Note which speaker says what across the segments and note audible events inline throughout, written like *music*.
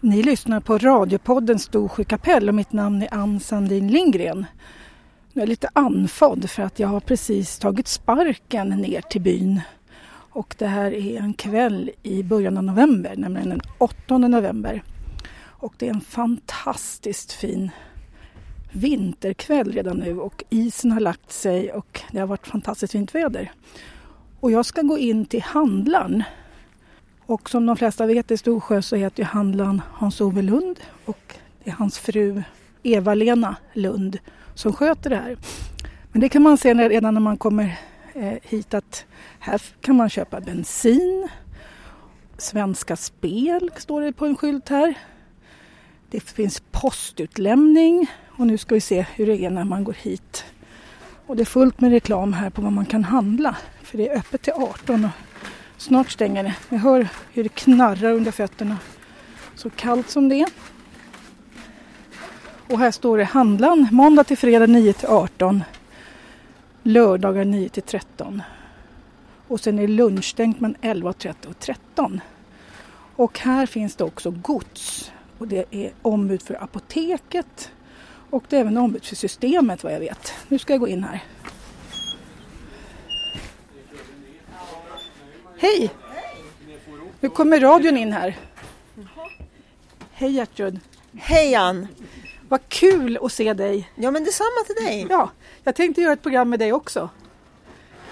Speaker 1: Ni lyssnar på radiopodden Storsjö kapell och mitt namn är Ann Sandin Lindgren. Nu är jag lite andfådd för att jag har precis tagit sparken ner till byn. Och det här är en kväll i början av november, nämligen den 8 november. Och det är en fantastiskt fin vinterkväll redan nu och isen har lagt sig och det har varit fantastiskt fint väder. Och jag ska gå in till handlaren och som de flesta vet i Storsjö så heter ju handlaren Hans-Ove Lund och det är hans fru Eva-Lena Lund som sköter det här. Men det kan man se när- redan när man kommer eh, hit att här f- kan man köpa bensin. Svenska Spel står det på en skylt här. Det finns postutlämning och nu ska vi se hur det är när man går hit. Och det är fullt med reklam här på vad man kan handla för det är öppet till 18 och Snart stänger det. Jag hör hur det knarrar under fötterna. Så kallt som det är. Och här står det handlan måndag till fredag 9 till 18. Lördagar 9 till 13. Och sen är lunchstängt mellan 11.30 och 13. Och här finns det också gods. Och det är ombud för apoteket. Och det är även ombud för systemet vad jag vet. Nu ska jag gå in här. Hej! Nu kommer radion in här. Hej Gertrud!
Speaker 2: Hej Ann!
Speaker 1: Vad kul att se dig!
Speaker 2: Ja men detsamma till dig.
Speaker 1: Ja, jag tänkte göra ett program med dig också.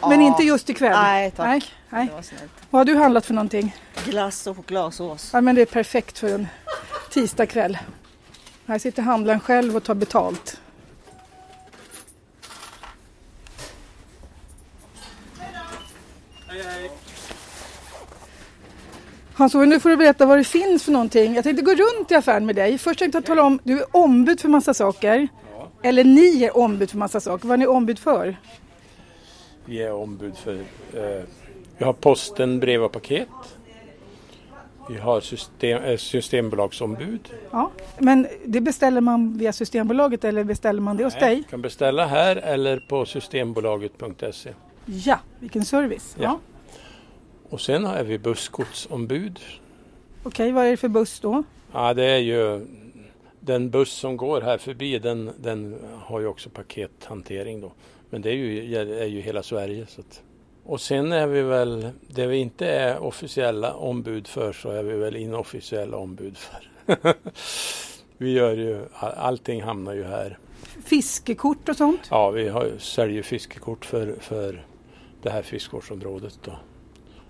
Speaker 1: Men
Speaker 2: Ja.
Speaker 1: inte just ikväll.
Speaker 2: Nej, tack.
Speaker 1: Nej, nej.
Speaker 2: Det var snällt.
Speaker 1: Vad har du handlat för någonting?
Speaker 2: Glass och chokladsås.
Speaker 1: Ja, men det är perfekt för en tisdagkväll. Här sitter handlaren själv och tar betalt. hans nu får du berätta vad det finns för någonting. Jag tänkte gå runt i affären med dig. Först tänkte jag tala om, du är ombud för massa saker. Eller ni är ombud för massa saker. Vad är ni ombud för?
Speaker 3: Vi är ombud för... Eh, vi har posten, brev och paket. Vi har system, eh, systembolagsombud.
Speaker 1: Ja. Men det beställer man via Systembolaget eller beställer man det hos dig?
Speaker 3: Du kan beställa här eller på systembolaget.se.
Speaker 1: Ja, vilken service.
Speaker 3: Ja. Och sen har vi busskortsombud.
Speaker 1: Okej, vad är det för buss då?
Speaker 3: Ja, det är ju... Den buss som går här förbi den, den har ju också pakethantering då. Men det är ju, är ju hela Sverige. Så att. Och sen är vi väl, det vi inte är officiella ombud för så är vi väl inofficiella ombud för. *laughs* vi gör ju, allting hamnar ju här.
Speaker 1: Fiskekort och sånt?
Speaker 3: Ja, vi har, säljer fiskekort för, för det här fiskevårdsområdet då.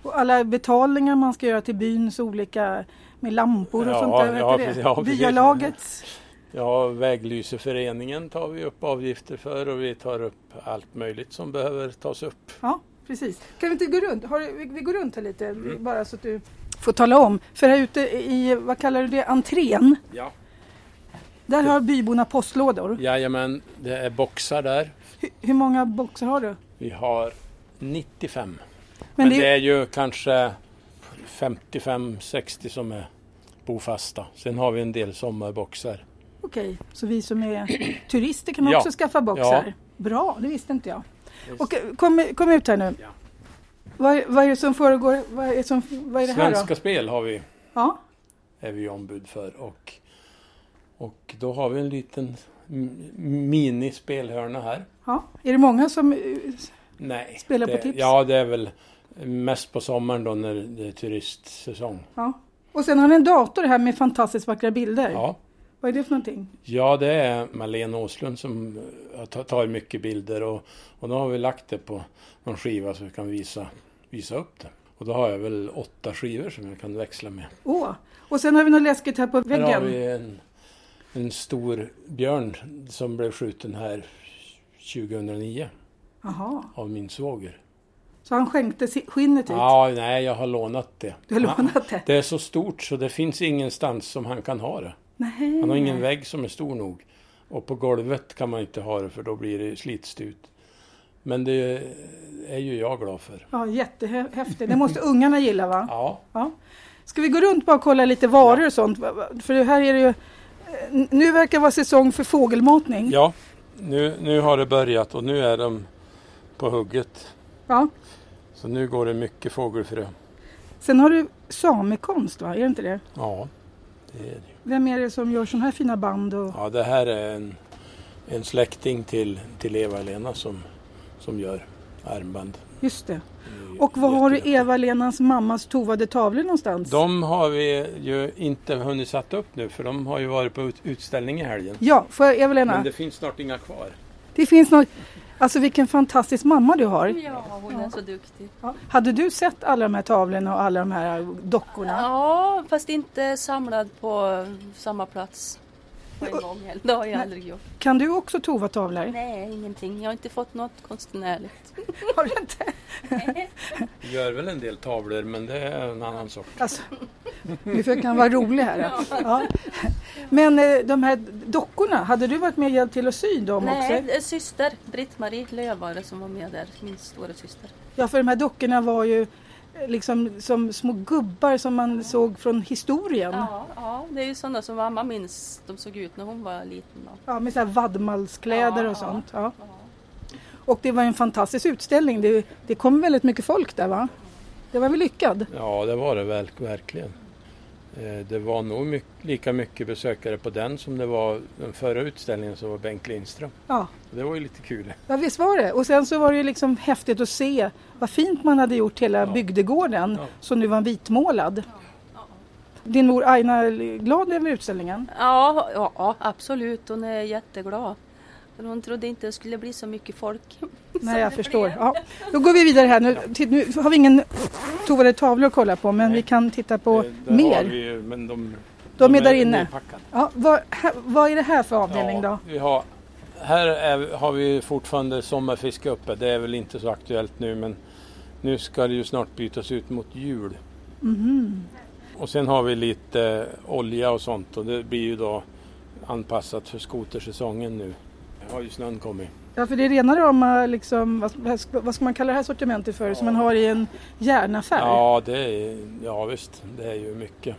Speaker 1: Och alla betalningar man ska göra till byns olika med lampor och
Speaker 3: Ja,
Speaker 1: sånt där?
Speaker 3: ja,
Speaker 1: vet du det?
Speaker 3: precis, ja, precis.
Speaker 1: Byalagets?
Speaker 3: Ja, väglyseföreningen tar vi upp avgifter för och vi tar upp allt möjligt som behöver tas upp.
Speaker 1: Ja, precis. Kan vi inte gå runt? Har, du- vi, vi går runt här lite
Speaker 3: Mm.
Speaker 1: bara så att du får tala om. För här ute i, vad kallar du det, entrén?
Speaker 3: Ja.
Speaker 1: Där har byborna postlådor.
Speaker 3: Jajamän, det är boxar där.
Speaker 1: Hur, hur många boxar har du?
Speaker 3: Vi har 95.
Speaker 1: Men
Speaker 3: Men,
Speaker 1: det-
Speaker 3: det... är ju kanske 55-60 som är bofasta. Sen har vi en del sommarboxar.
Speaker 1: Okej, så vi som
Speaker 3: *clears throat*
Speaker 1: är turister kan man
Speaker 3: Ja.
Speaker 1: också skaffa boxar?
Speaker 3: Ja.
Speaker 1: Bra, det visste inte jag. Okej, kom, kom ut här nu.
Speaker 3: Ja.
Speaker 1: Vad, vad är det som föregår? Vad är, det som, vad är det här
Speaker 3: Svenska
Speaker 1: då?
Speaker 3: Spel har vi,
Speaker 1: Ja,
Speaker 3: är vi ombud för och, och då har vi en liten m- minispelhörna här.
Speaker 1: ja. Är det många som... eh,
Speaker 3: Nej.
Speaker 1: Spela på
Speaker 3: det,
Speaker 1: tips?
Speaker 3: Ja, det är väl mest på sommaren då när det är turistsäsong.
Speaker 1: Ja. Och sen har ni en dator här med fantastiskt vackra bilder.
Speaker 3: Ja.
Speaker 1: Vad är det för någonting?
Speaker 3: Ja, det är Malena Åslund som har ta- tagit mycket bilder och, och då har vi lagt det på någon skiva så vi kan visa, visa upp det. Och då har jag väl åtta skivor som jag kan växla med.
Speaker 1: Åh! Och sen har vi något läskigt här på väggen.
Speaker 3: Här har vi en, en stor björn som blev skjuten här 2009
Speaker 1: Jaha,
Speaker 3: av min svåger.
Speaker 1: så han skänkte si- skinnet hit?
Speaker 3: Ja, nej, jag har lånat det.
Speaker 1: Du har
Speaker 3: Ja,
Speaker 1: lånat det?
Speaker 3: Det är så stort så det finns ingenstans som han kan ha det.
Speaker 1: Nej.
Speaker 3: Han har ingen vägg som är stor nog. Och på golvet kan man inte ha det för då blir det slitstut. Men det är ju jag glad för.
Speaker 1: Ja, jättehäftigt. Det måste ungarna gilla va?
Speaker 3: Ja,
Speaker 1: Ja. Ska vi gå runt bara och kolla lite varor och sånt? Va- va- För det här är det ju... eh, Nu verkar vara säsong för fågelmatning.
Speaker 3: ja nu, nu har det börjat och nu är de på hugget.
Speaker 1: Ja.
Speaker 3: Så nu går det mycket fågelfrö.
Speaker 1: Sen har du samekonst va? Är det inte det?
Speaker 3: Ja, Det är det.
Speaker 1: Vem är det som gör sådana här fina band? Och...
Speaker 3: Ja, det här är en, en släkting till, till Eva-Lena som, som gör armband.
Speaker 1: Just det.
Speaker 3: Det är
Speaker 1: Och var har du
Speaker 3: jättejätte-
Speaker 1: Eva-Lenas mammas tovade tavlor någonstans?
Speaker 3: De har vi ju inte hunnit sätta upp nu för de har ju varit på ut, utställning i helgen.
Speaker 1: Ja, får jag, Eva-Lena?
Speaker 3: Men
Speaker 1: Det...
Speaker 3: det finns snart inga kvar.
Speaker 1: finns något... Alltså vilken fantastisk mamma du har.
Speaker 4: Ja, hon är så duktig.
Speaker 1: Hade du sett alla de här tavlorna och alla de här dockorna?
Speaker 4: Ja, fast inte samlad på samma plats på en gång heller. Det har jag
Speaker 1: Nej.
Speaker 4: aldrig gjort.
Speaker 1: Kan du också tova tavlor?
Speaker 4: Nej, ingenting. Jag har inte fått något konstnärligt.
Speaker 1: Har du inte?
Speaker 3: Vi gör väl en del tavlor men det är en annan sort.
Speaker 1: Alltså, nu försöker han vara rolig här. Ja. Men eh, de här dockorna, hade du varit med och hjälpt till att sy dem
Speaker 4: Nej,
Speaker 1: också?
Speaker 4: det är syster Britt-Marie Lövare som var med där, min stora syster.
Speaker 1: Ja, för de här dockorna var ju eh, liksom som små gubbar som man såg från historien. Ja.
Speaker 4: Ja, ja, det är ju sådana som mamma minns de såg ut när hon var liten. då.
Speaker 1: med så här vadmalskläder
Speaker 4: Ja,
Speaker 1: och
Speaker 4: ja.
Speaker 1: sånt. Ja.
Speaker 4: Ja.
Speaker 1: Och det var en fantastisk utställning. Det, det kom väldigt mycket folk där va? Det var väl lyckad?
Speaker 3: Ja, det var det verk, verkligen. Eh, Det var nog myck- lika mycket besökare på den som det var den förra utställningen som var Bengt Lindström.
Speaker 1: Ja.
Speaker 3: Det var ju lite kul.
Speaker 1: ja, visst var det. Och sen så var det ju liksom häftigt att se vad fint man hade gjort hela
Speaker 3: Ja.
Speaker 1: bygdegården
Speaker 3: Ja.
Speaker 1: som nu var vitmålad. Din mor Aina är glad över utställningen?
Speaker 4: Ja, ja, ja, absolut. Hon är jätteglad. Men Hon trodde inte det skulle bli så mycket folk.
Speaker 1: Nej, jag förstår. Ja. Då går vi vidare här. Nu, titt, nu har vi ingen tovade tavlor att kolla på men
Speaker 3: Nej.
Speaker 1: vi kan titta på
Speaker 3: Eh, där har
Speaker 1: mer.
Speaker 3: vi ju, men de,
Speaker 1: De är där inne.
Speaker 3: nedpackade.
Speaker 1: Ja, vad, här, vad är det här för avdelning
Speaker 3: Ja,
Speaker 1: då?
Speaker 3: Vi har, här är, har vi fortfarande sommarfiske uppe. Det är väl inte så aktuellt nu men nu ska det ju snart bytas ut mot jul.
Speaker 1: Mhm.
Speaker 3: Och sen har vi lite eh, olja och sånt och det blir ju då anpassat för skotersäsongen nu. Här har ju snön kommit.
Speaker 1: Ja, för det är rena rama, liksom, vad, vad ska- vad ska man kalla det här sortimentet för, som man har i en järnaffär?
Speaker 3: Ja, det är, ja visst, det är ju mycket.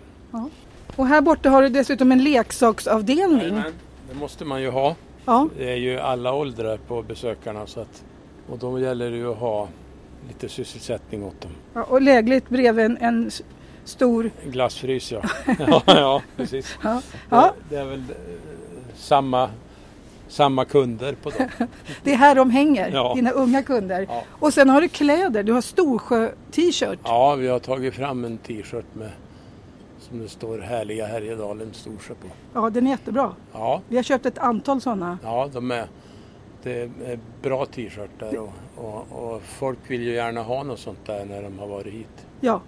Speaker 1: Och här borta har du dessutom en leksaksavdelning.
Speaker 3: Jajamän, Det måste man ju ha.
Speaker 1: Ja,
Speaker 3: Det är ju alla åldrar på besökarna så att, och då gäller det ju att ha lite sysselsättning åt dem.
Speaker 1: ja, och lägligt bredvid en, en s- stor... *laughs*
Speaker 3: Glassfrys ja. ja, ja precis.
Speaker 1: Ja.
Speaker 3: Det,
Speaker 1: Ja.
Speaker 3: det är väl eh, samma, samma kunder på dem.
Speaker 1: Det är här de hänger,
Speaker 3: Ja.
Speaker 1: dina unga kunder.
Speaker 3: Ja.
Speaker 1: Och sen har du kläder, du har Storsjö-t-shirt.
Speaker 3: Ja, vi har tagit fram en t-shirt med som det står Härliga Härjedalen Storsjö på.
Speaker 1: Ja, den är jättebra.
Speaker 3: Ja,
Speaker 1: Vi har köpt ett antal sådana.
Speaker 3: ja de är, det är bra t-shirtar och, och, och folk vill ju gärna ha något sånt där när de har varit hit.
Speaker 1: Ja.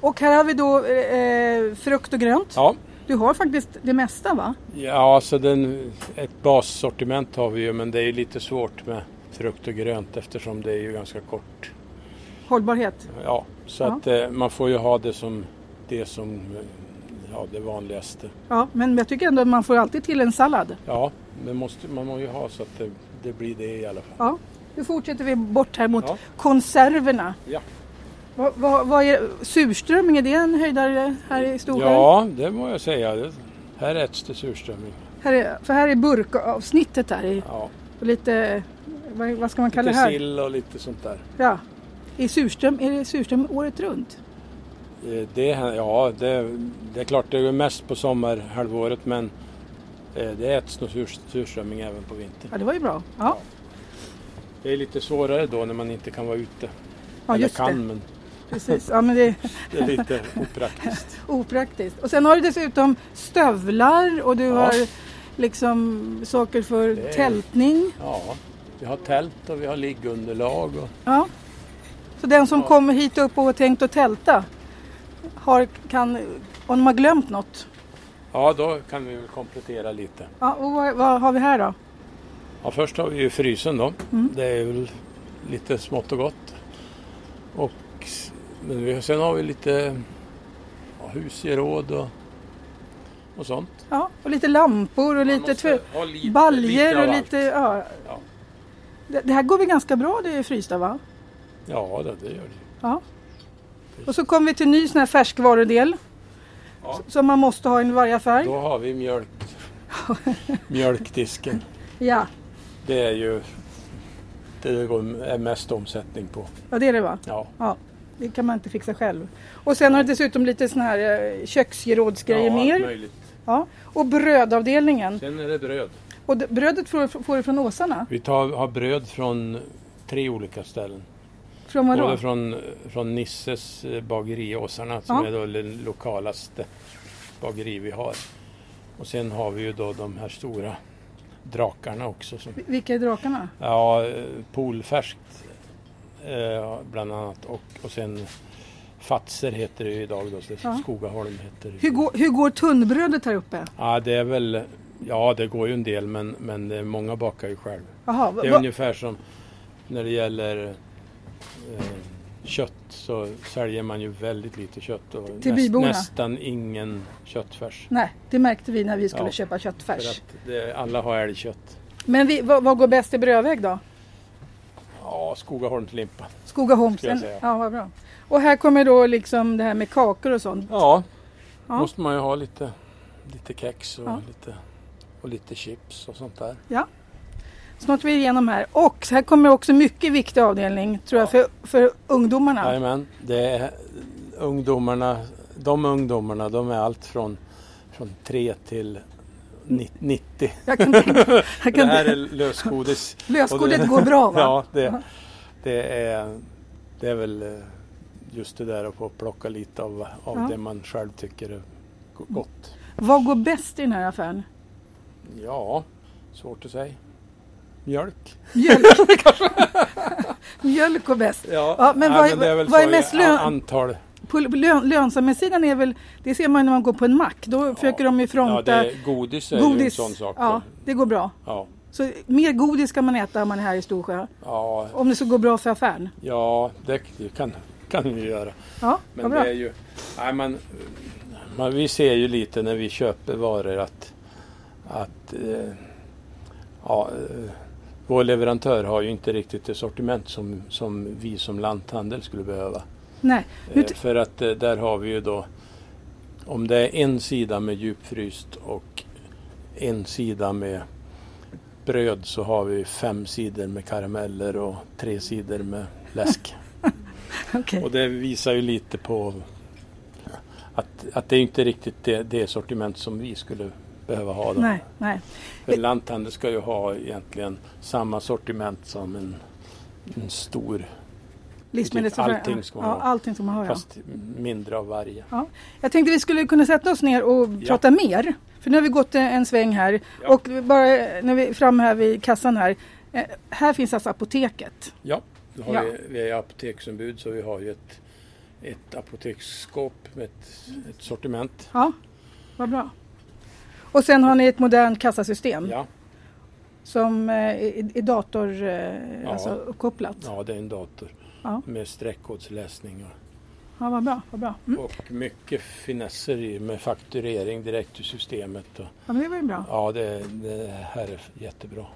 Speaker 1: Och här har vi då eh, frukt och grönt.
Speaker 3: Ja,
Speaker 1: Du har faktiskt det mesta va?
Speaker 3: ja så den, ett bassortiment har vi ju men det är ju lite svårt med frukt och grönt eftersom det är ju ganska kort.
Speaker 1: Hållbarhet.
Speaker 3: Ja, så
Speaker 1: Ja.
Speaker 3: att eh, man får ju ha det som det som eh, ja, det vanligaste.
Speaker 1: Ja, men jag tycker ändå att man får alltid till en sallad.
Speaker 3: Ja, men måste, man måste ju ha så att det, det blir det i alla fall.
Speaker 1: Ja, nu fortsätter vi bort här mot
Speaker 3: Ja.
Speaker 1: konserverna.
Speaker 3: Ja.
Speaker 1: Vad, vad, vad är, surströmming, är det en höjdare här i Storsjö?
Speaker 3: Ja, det må jag säga. Det, här äts det surströmming.
Speaker 1: Här är, för här är burkavsnittet här i,
Speaker 3: Ja,
Speaker 1: och lite, vad, vad ska man kalla
Speaker 3: lite
Speaker 1: det här?
Speaker 3: sill och lite sånt där.
Speaker 1: Ja. I surström, är det surström året runt?
Speaker 3: Eh, Det, här- ja, det, det är klart det är mest på sommarhalvåret men eh, det äts nog sur, surströmming även på vintern.
Speaker 1: Ja, det var ju bra. Ja,
Speaker 3: Det är lite svårare då när man inte kan vara ute.
Speaker 1: ja
Speaker 3: Eller
Speaker 1: just
Speaker 3: kan
Speaker 1: det.
Speaker 3: men
Speaker 1: Precis. Ja, men det är
Speaker 3: det är lite opraktiskt.
Speaker 1: opraktiskt. Och sen har du dessutom stövlar och du
Speaker 3: Ja.
Speaker 1: har liksom saker för
Speaker 3: Det är-
Speaker 1: tältning.
Speaker 3: Ja, vi har tält och vi har liggunderlag. Och,
Speaker 1: Ja. Så den som
Speaker 3: Ja.
Speaker 1: kommer hit upp och har tänkt att tälta har, kan, om de har glömt något.
Speaker 3: ja, då kan vi väl komplettera lite.
Speaker 1: Ja, och vad, vad har vi här då?
Speaker 3: Ja, först har vi ju frysen då.
Speaker 1: Mm.
Speaker 3: Det är väl lite smått och gott. Och s- men vi- sen har vi lite ja, husgeråd och, och sånt.
Speaker 1: Ja, och lite lampor och lite tvär, baljer och lite... Ja.
Speaker 3: Ja.
Speaker 1: Det, det här går väl ganska bra det är frysta va?
Speaker 3: Ja, det, det gör det.
Speaker 1: Ja. Och så kommer vi till en ny sån här färskvarudel.
Speaker 3: Ja.
Speaker 1: S- Som man måste ha i varje affär.
Speaker 3: Då har vi mjölk,
Speaker 1: *laughs*
Speaker 3: mjölkdisken.
Speaker 1: Ja.
Speaker 3: Det är ju det det går, är mest omsättning på.
Speaker 1: ja, det är det va?
Speaker 3: Ja.
Speaker 1: Ja. det kan man inte fixa själv. Och sen har det dessutom lite såna här eh, köksgerådsgrejer
Speaker 3: allt
Speaker 1: mer.
Speaker 3: möjligt.
Speaker 1: Ja. Och brödavdelningen.
Speaker 3: Sen är det bröd.
Speaker 1: Och d- brödet får, får du från åsarna?
Speaker 3: Vi tar, har bröd från tre olika ställen.
Speaker 1: Från vadå?
Speaker 3: Både från, från Nisses eh, bageri i Åsarna som
Speaker 1: Ja.
Speaker 3: är då det lokalaste bageri vi har. Och sen har vi ju då de här stora drakarna också. Som,
Speaker 1: Vil- Vilka är drakarna?
Speaker 3: ja, eh, polfärskt eh, bland annat och, och sen Fatser heter det ju idag då, så
Speaker 1: Ja.
Speaker 3: Skogaholm heter det.
Speaker 1: Hur går, hur går tunnbrödet här uppe?
Speaker 3: Ja, det är väl, ja det går ju en del men, men det är många bakar ju själv.
Speaker 1: Jaha, va,
Speaker 3: Det är
Speaker 1: va,
Speaker 3: ungefär som när det gäller eh, kött så säljer man ju väldigt lite kött och
Speaker 1: Till byborna?
Speaker 3: nästan ingen köttfärs.
Speaker 1: nej, det märkte vi när vi skulle
Speaker 3: Ja,
Speaker 1: köpa
Speaker 3: För
Speaker 1: köttfärs.
Speaker 3: att det, alla har älgkött.
Speaker 1: Men vi, vad, vad går bäst i brödväg då?
Speaker 3: Ja, Skogaholmslimpa.
Speaker 1: Skogaholms?
Speaker 3: Skulle jag säga.
Speaker 1: Ja, vad bra. Och här kommer då liksom det här med kakor och sånt.
Speaker 3: Ja,
Speaker 1: Ja.
Speaker 3: måste man ju ha lite, lite kex och,
Speaker 1: Ja.
Speaker 3: lite, och lite chips och sånt där.
Speaker 1: Snart är vi igenom här. Och här kommer också mycket viktig avdelning tror jag för, för ungdomarna.
Speaker 3: Jajamän, det är ungdomarna, de ungdomarna de är allt från, från 3 till ni- 90.
Speaker 1: Jag kan
Speaker 3: *laughs*
Speaker 1: tänka, jag
Speaker 3: Det
Speaker 1: kan
Speaker 3: här är
Speaker 1: tänka.
Speaker 3: lösgodis.
Speaker 1: Lösgodis
Speaker 3: och det-
Speaker 1: går bra va?
Speaker 3: *laughs* Ja, det, det, är, det är väl eh, just det där att få plocka lite av, av
Speaker 1: Ja.
Speaker 3: det man själv tycker är go- gott.
Speaker 1: Vad går bäst i den här affären?
Speaker 3: Ja, svårt att säga. Mjölk.
Speaker 1: Mjölk *laughs* Mjölk går bäst. Ja, men vad är- vad är mest lön-
Speaker 3: lön? Antal.
Speaker 1: På lön, lönsamhetssidan är väl, det ser man när man går på en mack, då försöker de ju
Speaker 3: Ja, det
Speaker 1: fronta
Speaker 3: är, godis är ju en
Speaker 1: godis.
Speaker 3: sån sak.
Speaker 1: ja,
Speaker 3: Ja.
Speaker 1: det går bra.
Speaker 3: Ja.
Speaker 1: Så mer godis ska man äta om man är här i Storsjö.
Speaker 3: Ja,
Speaker 1: Om det ska gå bra för affären.
Speaker 3: ja, det kan, kan vi göra.
Speaker 1: Ja,
Speaker 3: Men
Speaker 1: vad bra.
Speaker 3: det är ju, nej, man, man, vi ser ju lite när vi köper varor att, att eh, ja, eh, vår leverantör har ju inte riktigt det sortiment som, som vi som lanthandel skulle behöva.
Speaker 1: Nej. *laughs* Nu
Speaker 3: Eh,
Speaker 1: t-
Speaker 3: för att eh, där har vi ju då, om det är en sida med djupfryst och en sida med bröd så har vi fem sidor med karameller och tre sidor med läsk.
Speaker 1: Okej.
Speaker 3: Och det visar ju lite på att, att det är inte riktigt det, det sortiment som vi skulle behöva ha. Då.
Speaker 1: Nej, nej.
Speaker 3: För lanthandel ska ju ha egentligen samma sortiment som en, en stor,
Speaker 1: Livsmedelsaffär.
Speaker 3: allting ska man
Speaker 1: ja,
Speaker 3: ha.
Speaker 1: allting ska man ha. Ja.
Speaker 3: fast mindre av varje.
Speaker 1: Jag tänkte vi skulle kunna sätta oss ner och
Speaker 3: Ja.
Speaker 1: prata mer. För nu har vi gått eh, en sväng här
Speaker 3: Ja.
Speaker 1: och bara eh, när vi är framme här vid kassan här. Eh, Här finns alltså apoteket.
Speaker 3: Ja, då har
Speaker 1: Ja.
Speaker 3: Vi, vi är apoteksombud så vi har ju ett, ett apoteksskåp med ett, ett sortiment.
Speaker 1: Ja, vad bra. Och sen har ni ett modernt kassasystem
Speaker 3: Ja,
Speaker 1: som eh, är, är dator, eh,
Speaker 3: Ja.
Speaker 1: alltså uppkopplat. Ja.
Speaker 3: ja, det är en dator
Speaker 1: Ja.
Speaker 3: med streckkodsläsning och
Speaker 1: vad bra. Vad bra. Mm.
Speaker 3: Och mycket finesser i med fakturering direkt ur systemet. Och,
Speaker 1: Ja, men det var ju bra.
Speaker 3: ja, det, det här är jättebra.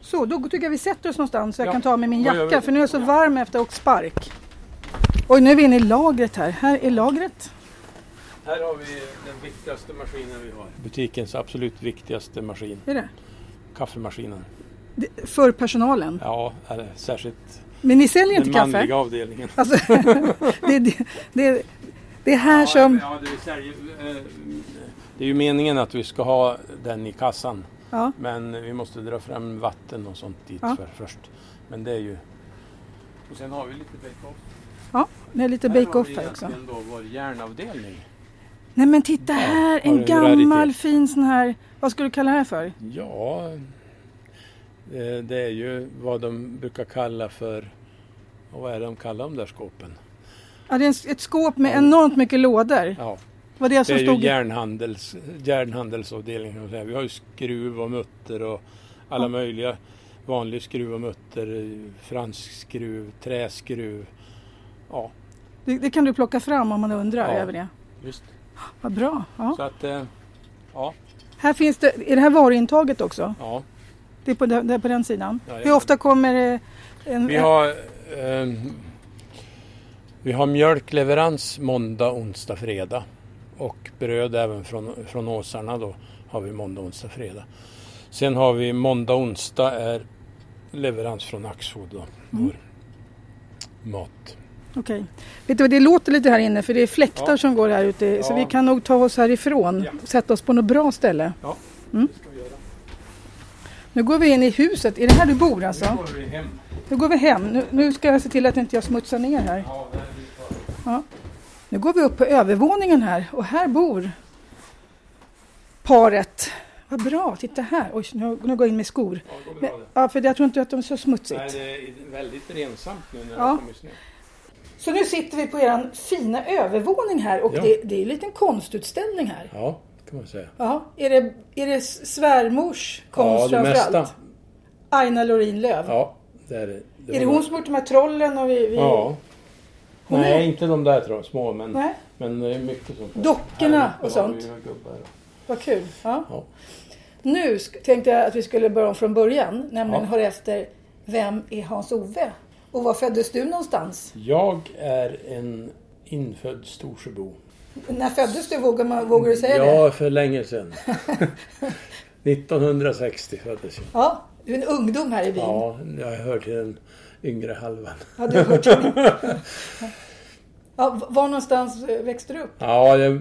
Speaker 1: Så, då tycker jag vi sätter oss någonstans så jag
Speaker 3: Ja.
Speaker 1: kan ta av mig min
Speaker 3: Vad gör
Speaker 1: jacka
Speaker 3: vi?
Speaker 1: för nu är jag så varm efter och spark. Oj, nu är vi inne i lagret här. Här är lagret.
Speaker 3: Här har vi den viktigaste maskinen vi har. Butikens absolut viktigaste maskin,
Speaker 1: Är det?
Speaker 3: kaffemaskinen.
Speaker 1: Det- För personalen.
Speaker 3: Ja, eller särskilt
Speaker 1: Men ni säljer inte
Speaker 3: den
Speaker 1: kaffe?
Speaker 3: manliga avdelningen.
Speaker 1: Alltså, *laughs* det, det, det, det är här
Speaker 3: Ja,
Speaker 1: som...
Speaker 3: ja, det, vill säga, eh, det är ju meningen att vi ska ha den i kassan.
Speaker 1: Ja,
Speaker 3: Men vi måste dra fram vatten och sånt dit
Speaker 1: Ja.
Speaker 3: för, först. Men det är ju... Och sen har vi lite bake-off.
Speaker 1: det är lite
Speaker 3: Här har
Speaker 1: bake-off
Speaker 3: vi
Speaker 1: här också.
Speaker 3: egentligen då vår järnavdelning.
Speaker 1: Nej men titta här,
Speaker 3: har du
Speaker 1: en
Speaker 3: en
Speaker 1: gammal
Speaker 3: raritet?
Speaker 1: fin sån här... Vad skulle du kalla det här för?
Speaker 3: Ja, eh, det är ju vad de brukar kalla för, och vad är det de kallar de där skåpen?
Speaker 1: Ja, det är en- ett skåp med
Speaker 3: Ja.
Speaker 1: enormt mycket lådor.
Speaker 3: Ja,
Speaker 1: Var det
Speaker 3: det
Speaker 1: som
Speaker 3: är ju
Speaker 1: stod...
Speaker 3: järnhandels, järnhandelsavdelningen. kan man säga. Vi har ju skruv och mutter och alla
Speaker 1: Ja.
Speaker 3: möjliga. Vanlig skruv och mutter, eh, fransk skruv, träskruv. Ja,
Speaker 1: Det, det kan du plocka fram om man undrar
Speaker 3: Ja.
Speaker 1: över det.
Speaker 3: just
Speaker 1: Vad bra. Ja.
Speaker 3: Så att, eh, ja,
Speaker 1: Här finns det... Är det här varuintaget också?
Speaker 3: ja.
Speaker 1: Det är på, den- det är på den sidan.
Speaker 3: Ja,
Speaker 1: Hur
Speaker 3: ja.
Speaker 1: ofta kommer det en...
Speaker 3: Vi har, eh, vi har mjölkleverans måndag, onsdag, fredag. Och bröd även från, från åsarna då har vi måndag, onsdag, fredag. Sen har vi måndag,
Speaker 1: Mm.
Speaker 3: onsdag är leverans från Axfood då, vår matbutik.
Speaker 1: Okej. Vet du vad, det låter lite här inne för det är fläktar
Speaker 3: Ja.
Speaker 1: som går här ute så
Speaker 3: Ja.
Speaker 1: vi kan nog ta oss härifrån
Speaker 3: Ja.
Speaker 1: och sätta oss på något bra ställe.
Speaker 3: Ja,
Speaker 1: Mm.
Speaker 3: det ska vi göra.
Speaker 1: Nu går vi in i huset. Är det här du bor alltså?
Speaker 3: Nu går vi hem.
Speaker 1: Nu går vi hem. Nu, nu ska jag se till att inte jag smutsar ner här.
Speaker 3: Ja, där vi tar-
Speaker 1: Nu går vi upp på övervåningen här och här bor paret. Vad bra, titta här. Oj, nu, nu går jag in med skor.
Speaker 3: ja, det går
Speaker 1: Men,
Speaker 3: bra det.
Speaker 1: ja, för jag tror inte att de är så
Speaker 3: Nej,
Speaker 1: smutsigt.
Speaker 3: det är väldigt rensamt nu när det
Speaker 1: Ja.
Speaker 3: har kommit snö.
Speaker 1: Så nu sitter vi på er fina övervåning här och
Speaker 3: Ja.
Speaker 1: det, det är en liten konstutställning här.
Speaker 3: Ja, det kan man säga.
Speaker 1: Ja, är det, är det svärmors konst
Speaker 3: ja, det
Speaker 1: framförallt?
Speaker 3: mesta.
Speaker 1: Aina Lorin Lööf.
Speaker 3: Ja, det är det.
Speaker 1: Är det hon som har gjort de här trollen? Och vi, vi...
Speaker 3: Ja.
Speaker 1: Hon är-
Speaker 3: Nej, inte de där tror jag, små, men,
Speaker 1: Nej,
Speaker 3: men det är mycket sånt. där.
Speaker 1: Dockorna
Speaker 3: Här uppe
Speaker 1: och sånt.
Speaker 3: har vi ju gubbar.
Speaker 1: vad kul. Ja.
Speaker 3: Ja.
Speaker 1: Nu sk- tänkte jag att vi skulle börja om från början, nämligen
Speaker 3: Ja.
Speaker 1: höra efter Vem är Hans-Ove? Och var föddes du någonstans?
Speaker 3: Jag är en infödd Storsjöbo.
Speaker 1: När föddes du? Vågar, man, vågar du säga det?
Speaker 3: Ja, för
Speaker 1: *laughs*
Speaker 3: länge sedan. 1960 föddes jag.
Speaker 1: Ja, du är en ungdom här i byn. Ja.
Speaker 3: Ja, jag hör till den yngre halvan.
Speaker 1: du har hört det. ja, v- var någonstans eh, växte du upp?
Speaker 3: Ja, jag,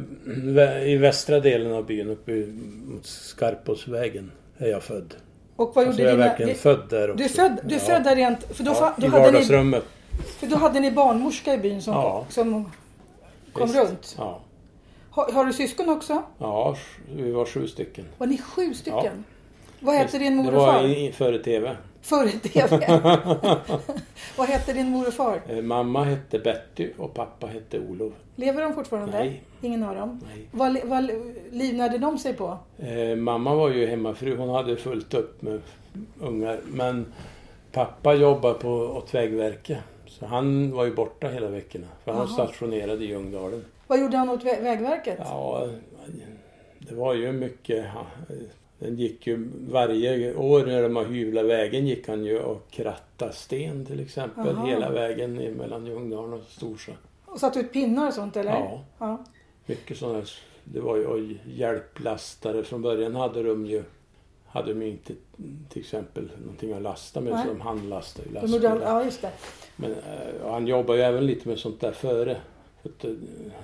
Speaker 3: i västra delen av byn, uppe i- mot Skarpåsvägen, är jag född.
Speaker 1: Och vad
Speaker 3: Så
Speaker 1: gjorde
Speaker 3: Alltså, jag är
Speaker 1: dina...
Speaker 3: verkligen född där också.
Speaker 1: Du är född, du är
Speaker 3: Ja.
Speaker 1: född där rent... För då, fa-
Speaker 3: Ja,
Speaker 1: då
Speaker 3: I
Speaker 1: hade ni
Speaker 3: vardagsrummet.
Speaker 1: För då hade ni barnmorska i byn som,
Speaker 3: Ja.
Speaker 1: som kom
Speaker 3: Visst.
Speaker 1: runt.
Speaker 3: Ja.
Speaker 1: Har, har du syskon också?
Speaker 3: ja, vi var sju stycken.
Speaker 1: Var ni sju stycken? Vad heter din mor
Speaker 3: Det
Speaker 1: och
Speaker 3: var
Speaker 1: far?
Speaker 3: i- före TV.
Speaker 1: Förr i
Speaker 3: *laughs*
Speaker 1: TV. *laughs* Vad heter din mor och far?
Speaker 3: Eh, Mamma hette Betty och pappa hette Olof.
Speaker 1: Lever de fortfarande?
Speaker 3: Nej.
Speaker 1: Ingen av dem?
Speaker 3: Nej.
Speaker 1: Vad, li- vad li- livnärde de sig på?
Speaker 3: Eh, mamma var ju hemmafru, hon hade fullt upp med ungar. Men pappa jobbade på, åt Vägverket. Så han var ju borta hela veckorna. För han
Speaker 1: Jaha.
Speaker 3: stationerade i Ljungdalen.
Speaker 1: Vad gjorde han åt Vä- Vägverket?
Speaker 3: Ja, det var ju mycket. ja, Den gick ju varje år när de har hyvlat vägen gick han ju och krattade sten till exempel.
Speaker 1: Jaha.
Speaker 3: Hela vägen i- mellan Ljungdalen och Storsjö.
Speaker 1: Och satte ut pinnar och sånt eller?
Speaker 3: Ja.
Speaker 1: ja.
Speaker 3: Mycket sådana här, det var ju och hjälplastare. Från början hade de ju, hade de ju inte till exempel någonting att lasta med
Speaker 1: Nej.
Speaker 3: så de handlastade ju
Speaker 1: De gjorde all...
Speaker 3: lastbilar.
Speaker 1: ja, just det.
Speaker 3: Men eh, och han jobbade ju även lite med sånt där före. För att, eh,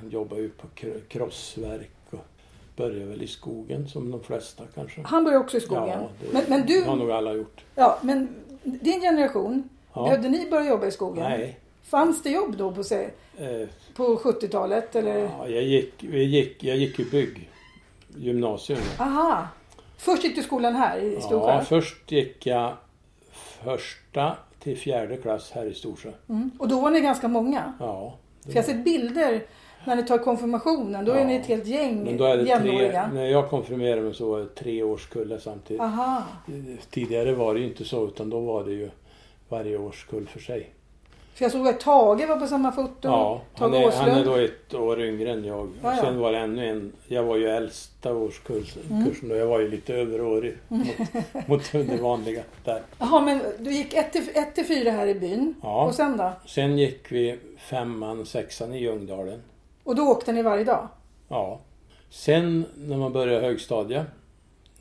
Speaker 3: han jobbade ju på kro- krossverk och började väl i skogen som de flesta kanske.
Speaker 1: Han började också i skogen.
Speaker 3: Ja, det
Speaker 1: men, men du,
Speaker 3: har nog alla gjort.
Speaker 1: ja, men din generation,
Speaker 3: Ja.
Speaker 1: behövde ni börja jobba i skogen?
Speaker 3: Nej.
Speaker 1: Fanns det jobb då på, sig,
Speaker 3: Eh,
Speaker 1: på 70-talet eller?
Speaker 3: ja, jag, gick, vi gick, jag gick ju bygg, gymnasium.
Speaker 1: Aha! Först gick du skolan här i Storsjö?
Speaker 3: Ja, först gick jag första till fjärde klass här i Storsjö.
Speaker 1: mm. Och då var ni ganska många?
Speaker 3: Ja.
Speaker 1: För jag har sett bilder när ni tar konfirmationen, då är
Speaker 3: Ja.
Speaker 1: ni ett helt gäng
Speaker 3: Men då är det tre,
Speaker 1: jämnåriga.
Speaker 3: när jag konfirmerade mig så var det tre årskullar samtidigt.
Speaker 1: Aha!
Speaker 3: Tidigare var det ju inte så utan då var det ju varje årskull för sig.
Speaker 1: För jag såg att Tage var på samma foto,
Speaker 3: Ja,
Speaker 1: Tage
Speaker 3: han är, han är
Speaker 1: Åslund.
Speaker 3: då ett år yngre än jag.
Speaker 1: Ja, ja.
Speaker 3: Sen var det ännu en. Jag var ju äldsta årskursen
Speaker 1: Mm.
Speaker 3: då. Jag var ju lite överårig mot, mot det vanliga där.
Speaker 1: Jaha, men du gick ett till, ett till fyra här i byn.
Speaker 3: Ja.
Speaker 1: Och sen då?
Speaker 3: Sen gick vi femman, sexan i Ljungdalen.
Speaker 1: Och då åkte ni varje dag?
Speaker 3: Ja. Sen när man började högstadiet,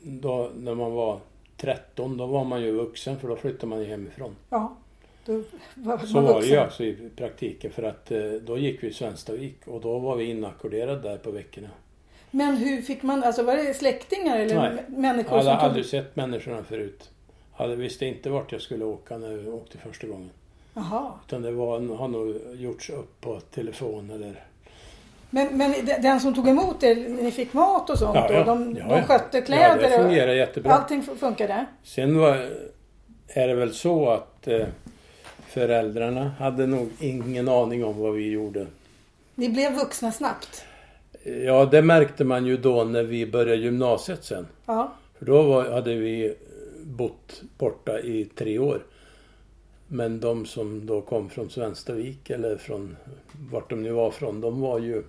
Speaker 3: då, när man var 13, då var man ju vuxen för då flyttade man ju hemifrån.
Speaker 1: Ja. Då var
Speaker 3: Så
Speaker 1: man
Speaker 3: var det
Speaker 1: vuxen.
Speaker 3: ju alltså i praktiken för att eh, då gick vi i Svenstavik och då var vi inackorderade där på veckorna.
Speaker 1: Men hur fick man, alltså var det släktingar eller
Speaker 3: Nej.
Speaker 1: m- människor
Speaker 3: Jag hade
Speaker 1: som tog...
Speaker 3: aldrig sett människorna förut. Hade visste inte vart jag skulle åka när jag åkte första gången.
Speaker 1: Jaha.
Speaker 3: Utan det var, har nog gjorts upp på telefon eller...
Speaker 1: Men, men de- den som tog emot er, ni fick mat och sånt
Speaker 3: Ja, ja.
Speaker 1: och de,
Speaker 3: Ja,
Speaker 1: de
Speaker 3: ja.
Speaker 1: skötte
Speaker 3: Ja,
Speaker 1: kläder
Speaker 3: det fungerar
Speaker 1: och
Speaker 3: jättebra.
Speaker 1: allting fu- funkade?
Speaker 3: Sen var, är det väl så att eh, föräldrarna hade nog ingen aning om vad vi gjorde.
Speaker 1: Ni blev vuxna snabbt?
Speaker 3: Ja, det märkte man ju då när vi började gymnasiet sen.
Speaker 1: Ja.
Speaker 3: För då var, hade vi bott borta i tre år. Men de som då kom från Svenstavik eller från vart de nu var från, de var ju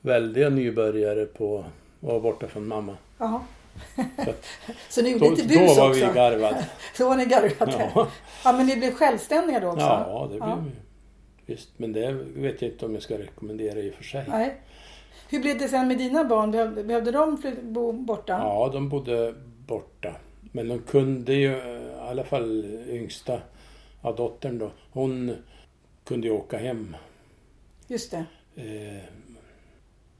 Speaker 3: väldiga nybörjare på att vara borta från mamma.
Speaker 1: ja.
Speaker 3: Så att,
Speaker 1: *laughs* Så ni gjorde
Speaker 3: då,
Speaker 1: lite
Speaker 3: då
Speaker 1: bus
Speaker 3: var vi
Speaker 1: också?
Speaker 3: garvade.
Speaker 1: *laughs* Då var ni garvade? Ja.
Speaker 3: Ja.
Speaker 1: men ni blev självständiga då också?
Speaker 3: Ja, det blev vi. Visst, men det vet jag inte om jag ska rekommendera i och för sig.
Speaker 1: Nej. Hur blev det sen med dina barn? Behövde, behövde de fly- bo borta?
Speaker 3: Ja, de bodde borta. Men de kunde ju, eh, i alla fall yngsta, ja, dottern då, hon kunde jag åka hem.
Speaker 1: Just det.
Speaker 3: Eh,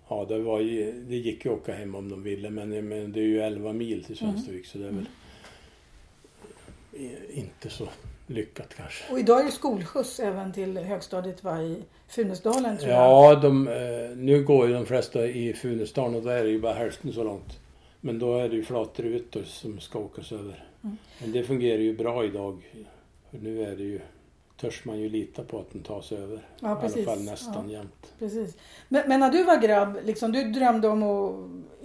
Speaker 3: ja, det, var ju, det gick ju att åka hem om de ville men, men det är ju 11 mil till Svenstavik så det är väl eh, inte så lyckat kanske.
Speaker 1: Och idag är det skolskjuts även till högstadiet va, i Funäsdalen tror jag.
Speaker 3: Ja, de, eh, nu går ju de flesta i Funäsdalen och där är det ju bara hälften så långt. Men då är det ju flatrutor som ska åkas över.
Speaker 1: Mm.
Speaker 3: Men det fungerar ju bra idag. För nu är det ju, törs man ju lita på att den tas över.
Speaker 1: Ja,
Speaker 3: I
Speaker 1: precis.
Speaker 3: alla fall nästan jämt.
Speaker 1: Precis. Men, men när du var grabb, liksom, du drömde om att,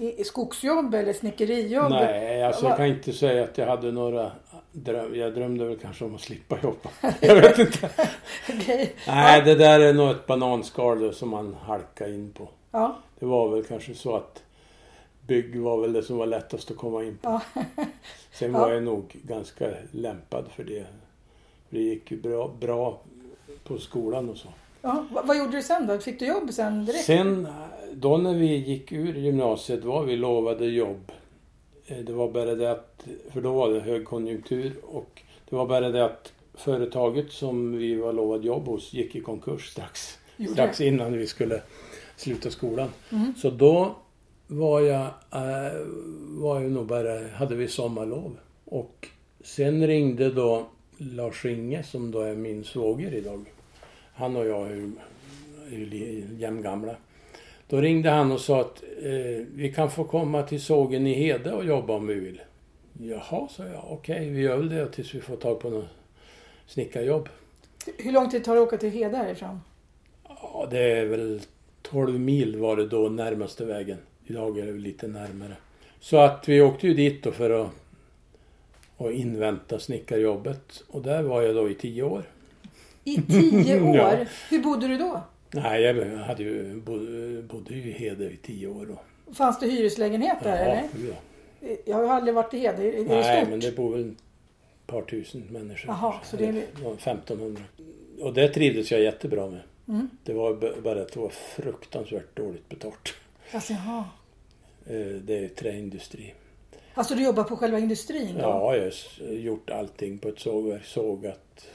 Speaker 1: i, i skogsjobb eller snickerijobb?
Speaker 3: Nej, alltså
Speaker 1: Vad-
Speaker 3: jag kan inte säga att jag hade några dröm. Jag drömde väl kanske om att slippa jobba. *laughs* Jag vet inte.
Speaker 1: *laughs* Okej.
Speaker 3: Nej, det där är nog ett bananskal då som man halkar in på.
Speaker 1: Ja.
Speaker 3: Det var väl kanske så att bygg var väl det som var lättast att komma in på.
Speaker 1: Ja.
Speaker 3: *laughs* Sen
Speaker 1: Ja.
Speaker 3: var jag nog ganska lämpad för det. För det gick ju bra, bra på skolan och så.
Speaker 1: ja. Vad, vad gjorde du sen då? Fick du jobb sen direkt?
Speaker 3: Sen eh, då när vi gick ur gymnasiet var vi lovade jobb. Eh, Det var bara det att, för då var det högkonjunktur och det var bara det att företaget som vi var lovad jobb hos gick i konkurs strax,
Speaker 1: Gjorde
Speaker 3: strax innan vi skulle sluta skolan. Så då var jag, eh, var jag nog bara, hade vi sommarlov. Och sen ringde då Lars-Inge som då är min svåger idag. Han och jag är ju- är ju li- jämngamla. Då ringde han och sa att eh, vi kan få komma till sågen i Hede och jobba om vi vill. Jaha, sa jag. Okej, vi gör väl det tills vi får tag på något snickarjobb.
Speaker 1: Hur lång tid tar det att åka till Hede härifrån?
Speaker 3: Ja, det är väl 12 mil var det då närmaste vägen. Idag är det väl lite närmare. Så att vi åkte ju dit då för att, att invänta snickarjobbet. Och där var jag då i tio år. *laughs*
Speaker 1: I tio år?
Speaker 3: Ja.
Speaker 1: Hur bodde du då?
Speaker 3: Nej, jag hade ju, bo- bodde ju i Hede i tio år då.
Speaker 1: Fanns det hyreslägenhet där eller?
Speaker 3: ja.
Speaker 1: Jag har ju aldrig varit i Hede. Är, är det
Speaker 3: Nej,
Speaker 1: stort?
Speaker 3: men det bor väl ett par tusen människor.
Speaker 1: Jaha,
Speaker 3: kanske.
Speaker 1: så det är-
Speaker 3: Eller någon 1500. Och det trivdes jag jättebra med.
Speaker 1: Mm.
Speaker 3: Det var b- bara att det var fruktansvärt dåligt betalt.
Speaker 1: Alltså, jaha.
Speaker 3: Eh, Det är träindustri.
Speaker 1: alltså du jobbar på själva industrin? då?
Speaker 3: Ja, jag har s- gjort allting på ett sågverk. Sågat.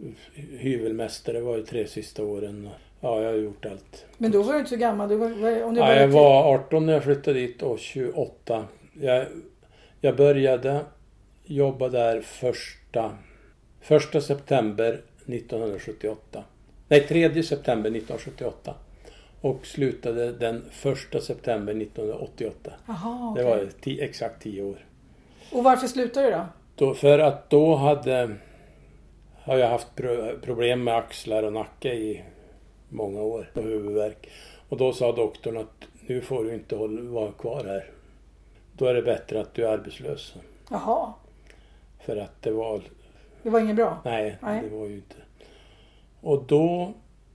Speaker 3: eh, Hyvelmästare var ju tre sista åren. Ja, jag har gjort allt.
Speaker 1: Men då var du inte så gammal. Du var, var, om du
Speaker 3: Ja, jag
Speaker 1: lite-
Speaker 3: var 18 när jag flyttade dit och 28. Jag, jag började jobba där första, första september 1978. Nej, 3 september 1978. Och slutade den första september 1988.
Speaker 1: Jaha,
Speaker 3: Det
Speaker 1: okej.
Speaker 3: var ti, exakt 10 år.
Speaker 1: Och varför slutade du då?
Speaker 3: Då, för att då hade... Har jag haft pro- problem med axlar och nacke i många år och huvudvärk. Och då sa doktorn att nu får du inte hålla, vara kvar här. Då är det bättre att du är arbetslös.
Speaker 1: Jaha,
Speaker 3: För att det var...
Speaker 1: det var inget bra?
Speaker 3: Nej,
Speaker 1: Nej.
Speaker 3: det var ju inte. Och då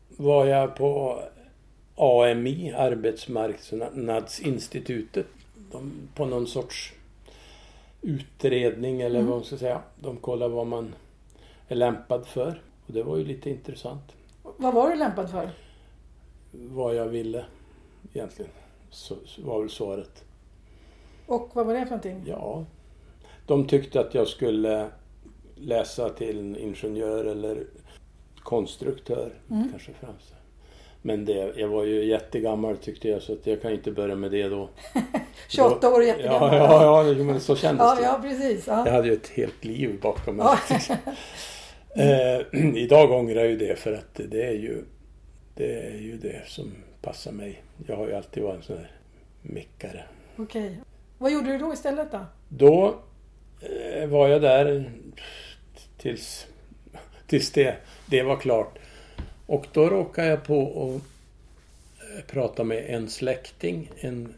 Speaker 3: var jag på AMI, Arbetsmarknadsinstitutet. De, på någon sorts utredning eller vad man ska säga. De kollar vad man är lämpad för. Och det var ju lite intressant.
Speaker 1: Vad var du lämpad för?
Speaker 3: Vad jag ville egentligen. Så, så var väl svaret.
Speaker 1: Och vad var det för någonting?
Speaker 3: Ja. De tyckte att jag skulle läsa till en ingenjör eller konstruktör
Speaker 1: Mm.
Speaker 3: kanske främst. Men det, jag var ju jättegammal tyckte jag så att jag kan inte börja med det
Speaker 1: *laughs*
Speaker 3: då.
Speaker 1: 28 år och jättegammal.
Speaker 3: Ja, ja, ja, jo, men så kändes
Speaker 1: ja,
Speaker 3: det.
Speaker 1: ja, precis.
Speaker 3: Jag
Speaker 1: Ja.
Speaker 3: hade ju ett helt liv bakom mig.
Speaker 1: Ja.
Speaker 3: *laughs*
Speaker 1: *laughs* Mm.
Speaker 3: Eh, *clears throat* idag ångrar jag ju det för att det är ju det, är ju det som passar mig. Jag har ju alltid varit en sån här mickare.
Speaker 1: Okej. Vad gjorde du då istället då?
Speaker 3: Då eh, var jag där tills, tills det, det var klart. Och då råkade jag på att eh, prata med en släkting, en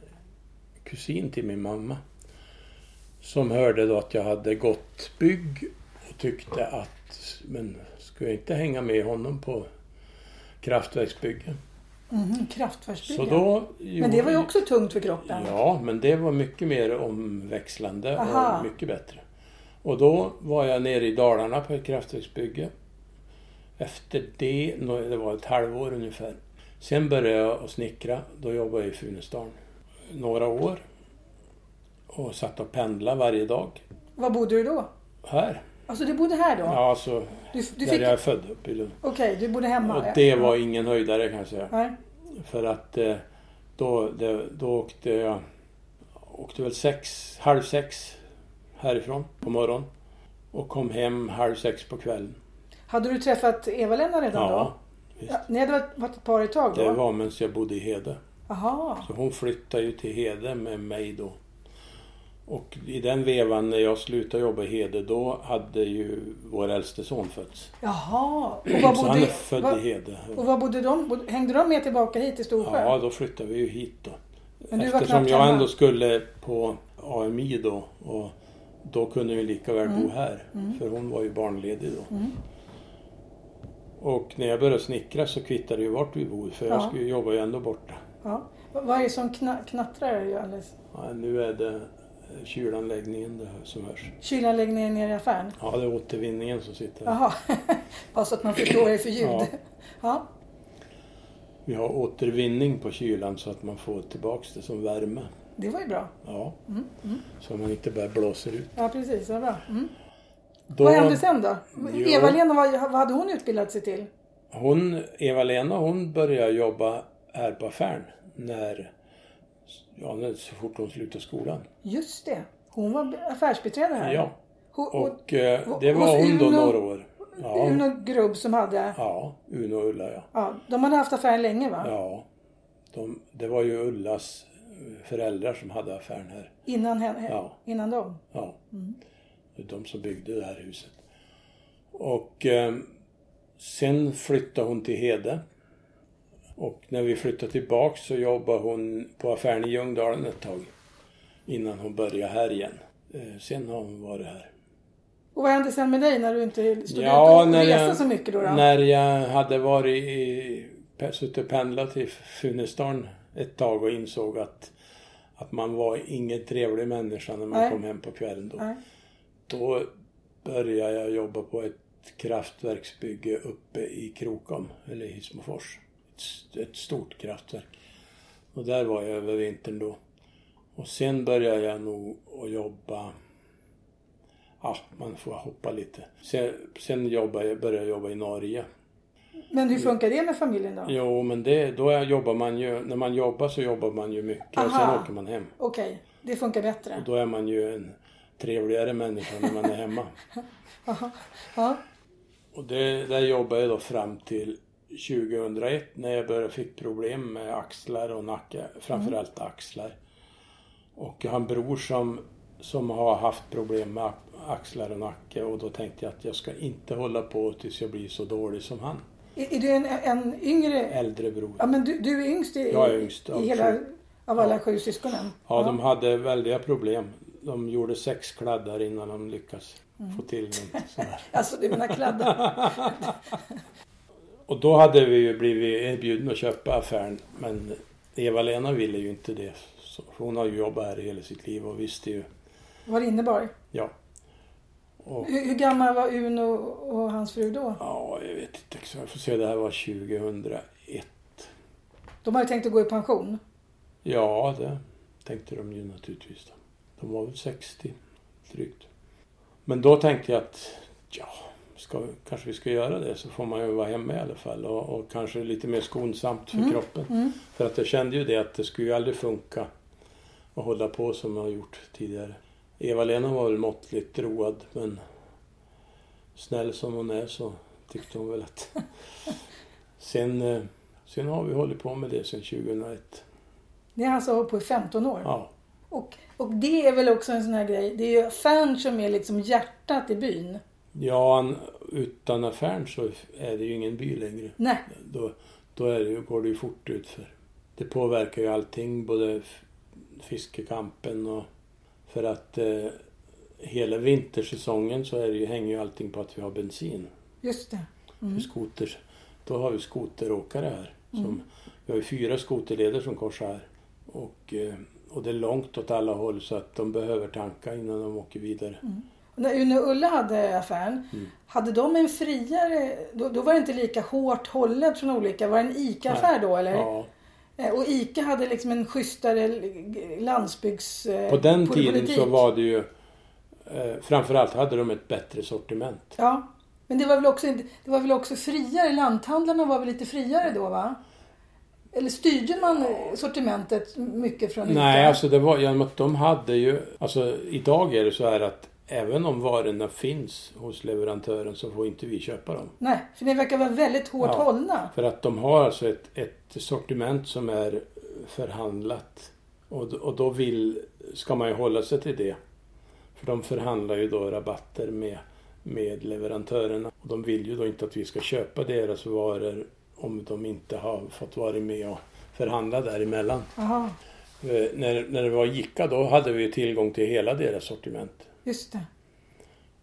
Speaker 3: kusin till min mamma. Som hörde då att jag hade gått bygg och tyckte att men skulle jag inte hänga med honom på kraftverksbygge?
Speaker 1: Mm,
Speaker 3: Så
Speaker 1: kraftverksbygge.
Speaker 3: då
Speaker 1: Men det var ju
Speaker 3: gjorde-
Speaker 1: också tungt för kroppen.
Speaker 3: Ja, men det var mycket mer omväxlande
Speaker 1: Aha.
Speaker 3: och mycket bättre. Och då var jag nere i Dalarna på ett kraftverksbygge. Efter det, nå- det var ett halvår ungefär. Sen började jag att snickra. Då jobbade jag i Funäsdalen. Några år. Och satt och pendlade varje dag.
Speaker 1: Var bodde du då?
Speaker 3: Här.
Speaker 1: Alltså du bodde här då?
Speaker 3: Ja, alltså
Speaker 1: Du, du
Speaker 3: där
Speaker 1: fick...
Speaker 3: jag
Speaker 1: Okej,
Speaker 3: är född uppe i Lund.
Speaker 1: du bodde hemma?
Speaker 3: Och
Speaker 1: ja.
Speaker 3: det var ingen höjdare kan jag säga.
Speaker 1: Nej.
Speaker 3: För att eh, då, det, då åkte jag... Åkte väl sex, halv sex härifrån på morgonen. Och kom hem halv sex på kvällen.
Speaker 1: Hade du träffat Eva-Lena redan då?
Speaker 3: Ja, visst.
Speaker 1: Ja, ni hade varit- varit ett par ett tag då?
Speaker 3: Det var medan jag bodde i Hede.
Speaker 1: Aha.
Speaker 3: Så hon flyttade ju till Hede med mig då. Och i den vevan när jag slutade jobba i Hede då hade ju vår äldste son fötts.
Speaker 1: Jaha. Och var
Speaker 3: Så han är
Speaker 1: bodde,
Speaker 3: född
Speaker 1: var,
Speaker 3: i Hede.
Speaker 1: och var bodde de? Bod- Hängde de med tillbaka hit till Storsjö?
Speaker 3: Ja, då flyttade vi ju hit då.
Speaker 1: Men du var
Speaker 3: Eftersom
Speaker 1: knappt
Speaker 3: jag
Speaker 1: hemma.
Speaker 3: ändå skulle på AMI då och då kunde vi lika väl
Speaker 1: Mm.
Speaker 3: bo här. För hon var ju barnledig då. Och när jag började snickra så kvittade det ju vart vi bodde för jag
Speaker 1: Ja.
Speaker 3: skulle jobba ju ändå borta.
Speaker 1: Ja. Vad vad är det som kna, knattrar alldeles?
Speaker 3: Ja, nu är det eh, kylanläggningen det här som hörs.
Speaker 1: Kylanläggningen nere i affären?
Speaker 3: Ja, det är återvinningen som sitter här.
Speaker 1: Jaha. *laughs* Bara så att man förstår vad det är för ljud.
Speaker 3: Ja.
Speaker 1: Ja.
Speaker 3: Vi har återvinning på kylan så att man får tillbaks det som värme.
Speaker 1: Det var ju bra.
Speaker 3: Ja.
Speaker 1: Mm,
Speaker 3: Så man inte bara blåser ut.
Speaker 1: Ja precis, vad bra. Mm.
Speaker 3: Då-
Speaker 1: Vad hände sen då?
Speaker 3: Jo.
Speaker 1: Eva-Lena, vad, vad hade hon utbildat sig till?
Speaker 3: Hon, Eva-Lena, hon började jobba här på affären när, ja, när- så fort hon slutade skolan.
Speaker 1: Just det, hon var affärsbiträde här.
Speaker 3: Ja,
Speaker 1: Hon, och,
Speaker 3: och eh, det
Speaker 1: hos
Speaker 3: var hon då
Speaker 1: Uno-
Speaker 3: några år.
Speaker 1: ja.
Speaker 3: Ja,
Speaker 1: Uno Grubb som hade... Ja.
Speaker 3: ja Uno och Ulla ja.
Speaker 1: de hade haft affären länge va?
Speaker 3: ja de, det var ju Ullas eh, föräldrar som hade affären här.
Speaker 1: Innan, henne,
Speaker 3: Ja.
Speaker 1: innan dem.
Speaker 3: Ja.
Speaker 1: Mm.
Speaker 3: Det är de som byggde det här huset. Och eh, sen flyttade hon till Hede. Och när vi flyttade tillbaks så jobbade hon på affären i Ljungdalen ett tag. Innan hon började här igen. Eh, sen har hon varit här.
Speaker 1: Och vad hände sen med dig när du inte stod ut och reste så mycket då? då?
Speaker 3: när jag hade varit i, pe- suttit och pendlat i Funäsdalen ett tag och insåg att, att man var ingen trevlig människa när man
Speaker 1: Nej.
Speaker 3: kom hem på kvällen då.
Speaker 1: Nej.
Speaker 3: Då började jag jobba på ett kraftverksbygge uppe i Krokom, eller Hissmofors. Ett, st- ett stort kraftverk. Och där var jag över vintern då. Och sen började jag nog att jobba... Ja, man får hoppa lite. Sen, sen jobbade jag, började jag jobba i Norge.
Speaker 1: Men hur funkar det med familjen då?
Speaker 3: Jo, men det, då är- jobbar man ju... När man jobbar så jobbar man ju mycket och
Speaker 1: Aha.
Speaker 3: sen åker man hem.
Speaker 1: Okej, det funkar bättre.
Speaker 3: Då är man ju en trevligare människa när man är hemma.
Speaker 1: Ja.
Speaker 3: Och det, där jobbade jag då fram till 2001 när jag började fick problem med axlar och nacke, framförallt axlar. Och jag har en bror som, som har haft problem med axlar och nacke och då tänkte jag att jag ska inte hålla på tills jag blir så dålig som han.
Speaker 1: Är, är du en, en yngre?
Speaker 3: Äldre bror.
Speaker 1: Ja men du, du är yngst i,
Speaker 3: Jag är yngst av
Speaker 1: i hela,
Speaker 3: sju.
Speaker 1: av alla sju syskonen?
Speaker 3: Ja, de hade väldiga problem. De gjorde sex kladdar innan de lyckades få till något sådär.
Speaker 1: Alltså du menar kladdar?
Speaker 3: *laughs* Och då hade vi ju blivit erbjudna att köpa affären men Eva-Lena ville ju inte det. Så hon har ju jobbat här i hela sitt liv och visste ju,
Speaker 1: Vad det innebar?
Speaker 3: ja. Och,
Speaker 1: Hur, hur gammal var Uno och hans fru då?
Speaker 3: ja, jag vet inte, exakt. jag får se, det här var 2001.
Speaker 1: De hade tänkt att gå i pension.
Speaker 3: Ja, det tänkte de ju naturligtvis. Då. De var väl 60 drygt. Men då tänkte jag att ja, ska, kanske vi ska göra det så får man ju vara hemma i alla fall och, och kanske lite mer skonsamt för kroppen. För att jag kände ju det att det skulle ju aldrig funka att hålla på som jag har gjort tidigare. Eva-Lena var väl måttligt road men snäll som hon är så tyckte hon väl att... Sen, eh, sen har vi hållit på med det sedan 2001.
Speaker 1: Ni har alltså hållit på i 15 år.
Speaker 3: Ja,
Speaker 1: Och, och det är väl också en sån här grej. Det är ju fan som är liksom hjärtat i byn.
Speaker 3: ja an- utan affären så är det ju ingen by längre.
Speaker 1: Nej,
Speaker 3: Då, då är det, ju- går det ju fort ut för. Det påverkar ju allting, både f- fiskekampen och... För att eh, hela vintersäsongen så är det ju, hänger ju allting på att vi har bensin.
Speaker 1: just det.
Speaker 3: För skoter, då har vi skoteråkare här. Som,
Speaker 1: Mm.
Speaker 3: Vi har ju fyra skoterleder som korsar här. Och, eh, och det är långt åt alla håll så att de behöver tanka innan de åker vidare.
Speaker 1: Och När Uno och Ulla hade affären,
Speaker 3: Mm.
Speaker 1: hade de en friare... Då, då var det inte lika hårt hållet från olika. Var det en ICA-affär då eller?
Speaker 3: Ja,
Speaker 1: Eh, Och ICA hade liksom en schysstare l- g- landsbygds... eh,
Speaker 3: På den
Speaker 1: pol-
Speaker 3: tiden
Speaker 1: politik.
Speaker 3: så var det ju Eh, framförallt hade de ett bättre sortiment.
Speaker 1: Ja. Men det var väl också, det var väl också friare, lanthandlarna var väl lite friare då va? Eller styrde man sortimentet mycket från
Speaker 3: Nej, alltså det var genom att de hade ju... Alltså idag är det så här att även om varorna finns hos leverantören så får inte vi köpa dem.
Speaker 1: Nej, för ni verkar vara väldigt hårt
Speaker 3: Ja.
Speaker 1: hållna.
Speaker 3: För att de har alltså ett, ett sortiment som är förhandlat. Och, d- och då vill, ska man ju hålla sig till det. För de förhandlar ju då rabatter med, med leverantörerna. Och de vill ju då inte att vi ska köpa deras varor om de inte har fått vara med och förhandla däremellan.
Speaker 1: Jaha,
Speaker 3: Eh, När, när det var Ica då hade vi ju tillgång till hela deras sortiment.
Speaker 1: just det.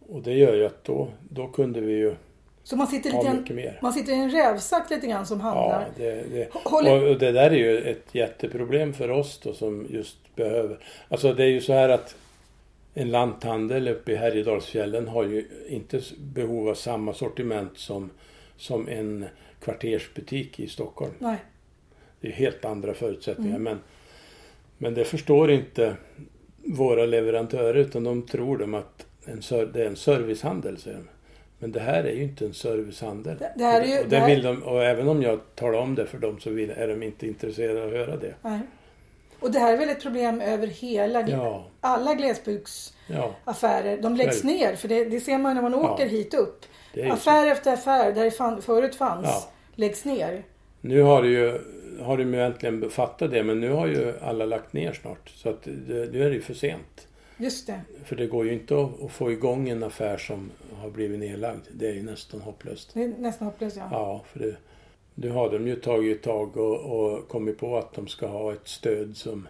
Speaker 3: Och det gör ju att då, då kunde vi ju
Speaker 1: Så man sitter,
Speaker 3: ha
Speaker 1: lite
Speaker 3: mycket
Speaker 1: en,
Speaker 3: mer.
Speaker 1: man sitter i en rävsax lite grann som handlar.
Speaker 3: Ja, det, det.
Speaker 1: Håller-
Speaker 3: Och och det där är ju ett jätteproblem för oss då som just behöver... Alltså det är ju så här att en lanthandel uppe i Härjedalsfjällen har ju inte s- behov av samma sortiment som, som en kvartersbutik i Stockholm.
Speaker 1: Nej,
Speaker 3: Det är helt andra förutsättningar.
Speaker 1: Mm.
Speaker 3: Men, men det förstår inte våra leverantörer utan de tror de att en, ser- det är en servicehandel. Säger de. Men det här är ju inte en servicehandel.
Speaker 1: Det- det här är ju-
Speaker 3: och, det,
Speaker 1: det här-
Speaker 3: vill de, och även om jag talar om det för dem så vill, är de inte intresserade av att höra det.
Speaker 1: nej. Och det här är väl ett problem över hela...
Speaker 3: Ja,
Speaker 1: Alla glesbygdsaffärer,
Speaker 3: ja.
Speaker 1: de läggs
Speaker 3: Själv.
Speaker 1: ner. För det, det ser man när man åker
Speaker 3: Ja.
Speaker 1: hit upp.
Speaker 3: Det är ju så.
Speaker 1: Affär efter affär där det fan, förut fanns
Speaker 3: Ja.
Speaker 1: läggs ner.
Speaker 3: Nu har, det ju, har de ju äntligen fattat det men nu har ju alla lagt ner snart. Så att det, nu är det ju för sent.
Speaker 1: Just det.
Speaker 3: För det går ju inte att, att få igång en affär som har blivit nedlagd. Det är ju nästan hopplöst.
Speaker 1: Det är nästan hopplöst ja.
Speaker 3: Ja, för det, nu har de ju tagit tag och, och kommit på att de ska ha ett stöd som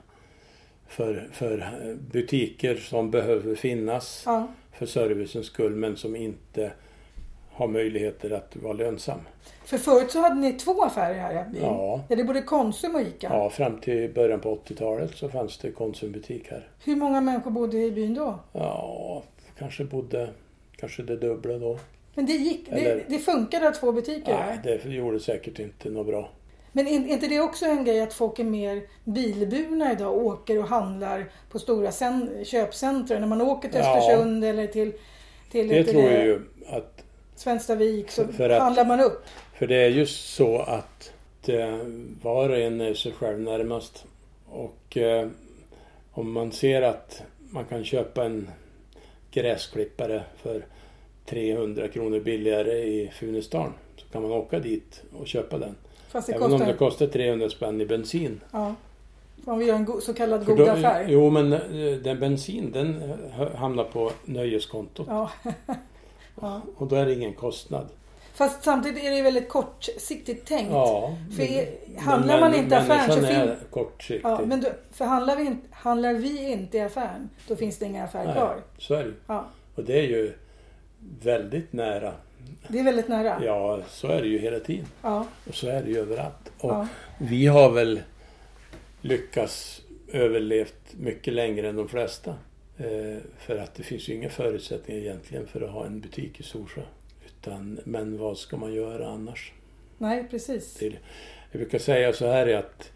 Speaker 3: för, för butiker som behöver finnas
Speaker 1: ja.
Speaker 3: för servicens skull men som inte har möjligheter att vara lönsam.
Speaker 1: För förut så hade ni två affärer här i byn.
Speaker 3: Ja.
Speaker 1: det är både Konsum och Ica.
Speaker 3: Ja, fram till början på 80-talet så fanns det Konsumbutik här.
Speaker 1: Hur många människor bodde i byn då?
Speaker 3: Ja, kanske bodde kanske det dubbla då.
Speaker 1: Men det gick, det,
Speaker 3: Eller-
Speaker 1: det funkade att ha två butiker.
Speaker 3: Nej, det gjorde säkert inte något bra.
Speaker 1: Men är är inte det också en grej att folk är mer bilburna idag och åker och handlar på stora cen- köpcentra? När man åker till
Speaker 3: Ja.
Speaker 1: Östersund eller till, till
Speaker 3: Det
Speaker 1: lite
Speaker 3: tror
Speaker 1: det-
Speaker 3: jag ju att
Speaker 1: Svenstavik så
Speaker 3: För att-
Speaker 1: handlar man upp.
Speaker 3: För det är ju så att eh, var och en är sig själv närmast. Och eh, om man ser att man kan köpa en gräsklippare för 300 kronor billigare i Funäsdalen så kan man åka dit och köpa den.
Speaker 1: Fast det
Speaker 3: Även om
Speaker 1: kostar...
Speaker 3: det kostar 300 spänn i bensin.
Speaker 1: Ja. Om vi gör en go- så kallad
Speaker 3: För
Speaker 1: god
Speaker 3: då-
Speaker 1: affär.
Speaker 3: Jo, men eh, den bensin den eh, hamnar på nöjeskontot
Speaker 1: Ja. *laughs* ja.
Speaker 3: och då är det ingen kostnad.
Speaker 1: Fast samtidigt är det ju väldigt kortsiktigt tänkt.
Speaker 3: Ja,
Speaker 1: För
Speaker 3: men-
Speaker 1: är- handlar man inte
Speaker 3: män-
Speaker 1: affären så
Speaker 3: människan är
Speaker 1: fin-
Speaker 3: kortsiktig.
Speaker 1: Ja, men då, för handlar vi, inte, handlar vi inte i affären, då finns det inga affärer
Speaker 3: Nej,
Speaker 1: kvar.
Speaker 3: Så är det ju.
Speaker 1: Ja,
Speaker 3: Och det är ju väldigt nära.
Speaker 1: det är väldigt nära.
Speaker 3: Ja, så är det ju hela tiden.
Speaker 1: Ja,
Speaker 3: Och så är det ju överallt. Och
Speaker 1: ja.
Speaker 3: vi har väl lyckats överlevt mycket längre än de flesta. Eh, för att det finns ju inga förutsättningar egentligen för att ha en butik i Storsjö. Utan, men vad ska man göra annars?
Speaker 1: Nej, *laughs* precis.
Speaker 3: till. Jag brukar säga så här är att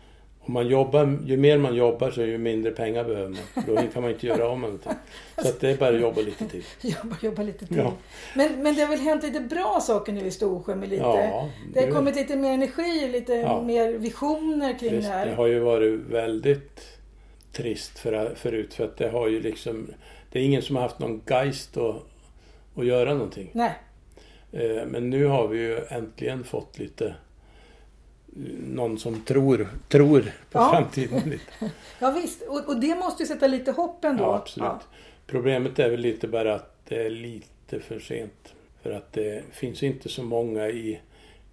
Speaker 3: om man jobbar, ju mer man jobbar så ju mindre pengar behöver man. För Då kan man inte göra av med någonting. Så att det är bara att jobba lite till.
Speaker 1: Jobba, jobba lite till.
Speaker 3: Ja.
Speaker 1: Men, men det har väl hänt lite bra saker nu i Storsjö med lite...
Speaker 3: Ja,
Speaker 1: det har
Speaker 3: det-
Speaker 1: kommit lite mer energi, lite
Speaker 3: Ja.
Speaker 1: mer visioner kring
Speaker 3: Visst,
Speaker 1: det
Speaker 3: det
Speaker 1: här.
Speaker 3: har ju varit väldigt trist för, förut för att det har ju liksom... Det är ingen som har haft någon geist att, att göra någonting.
Speaker 1: Nej,
Speaker 3: Eh, Men nu har vi ju äntligen fått lite... Någon som tror, tror på
Speaker 1: Ja.
Speaker 3: framtiden
Speaker 1: *laughs*
Speaker 3: lite.
Speaker 1: ja visst. Och, och det måste ju sätta lite hopp ändå.
Speaker 3: Ja, absolut. Problemet är väl lite bara att det är lite för sent. För att det finns inte så många i,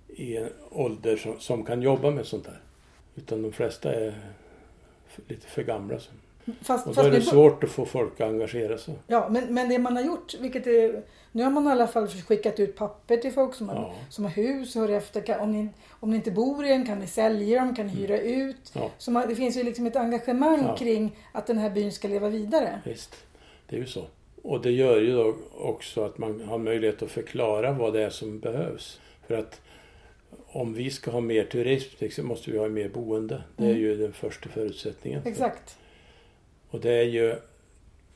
Speaker 3: i en ålder som, som kan jobba med sånt här. Utan de flesta är f- lite för gamla. Så.
Speaker 1: Ja. Fast,
Speaker 3: Och
Speaker 1: fast
Speaker 3: då är
Speaker 1: nu,
Speaker 3: det svårt att få folk att engagera sig.
Speaker 1: Ja, men, men det man har gjort, vilket är... Nu har man i alla fall skickat ut papper till folk som har,
Speaker 3: Ja.
Speaker 1: som har hus och hör efter. Kan, om, ni, om ni inte bor i en, kan ni sälja dem? Kan ni hyra ut?
Speaker 3: Mm. Ja.
Speaker 1: Så man, det finns ju liksom ett engagemang
Speaker 3: Ja.
Speaker 1: kring att den här byn ska leva vidare.
Speaker 3: Visst, det är ju så. Och det gör ju då också att man har möjlighet att förklara vad det är som behövs. För att om vi ska ha mer turism till exempel, måste vi ha mer boende. Det är ju den första förutsättningen.
Speaker 1: Exakt.
Speaker 3: Och det är ju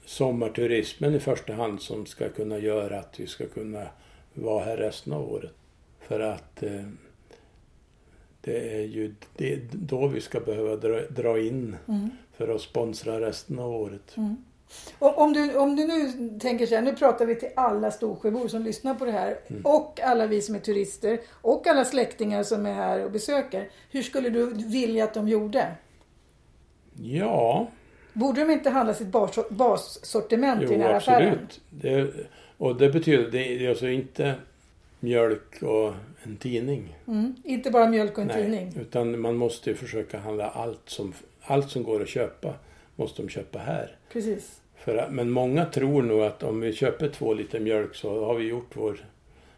Speaker 3: sommarturismen i första hand som ska kunna göra att vi ska kunna vara här resten av året. För att eh, det är ju det är då vi ska behöva dra, dra in
Speaker 1: Mm.
Speaker 3: för att sponsra resten av året.
Speaker 1: Och om, du, om du nu tänker så här, nu pratar vi till alla Storsjöbor som lyssnar på det här
Speaker 3: Mm.
Speaker 1: och alla vi som är turister och alla släktingar som är här och besöker. Hur skulle du vilja att de gjorde?
Speaker 3: Ja,
Speaker 1: Borde de inte handla sitt bas- bassortiment i
Speaker 3: jo
Speaker 1: den här affären?
Speaker 3: absolut. Det, och det betyder, det är alltså inte mjölk och en tidning.
Speaker 1: Mm. Inte bara mjölk och en tidning.
Speaker 3: utan man måste ju försöka handla allt som, allt som går att köpa, måste de köpa här.
Speaker 1: Precis.
Speaker 3: För, att- men många tror nog att om vi köper två liter mjölk så har vi gjort vår...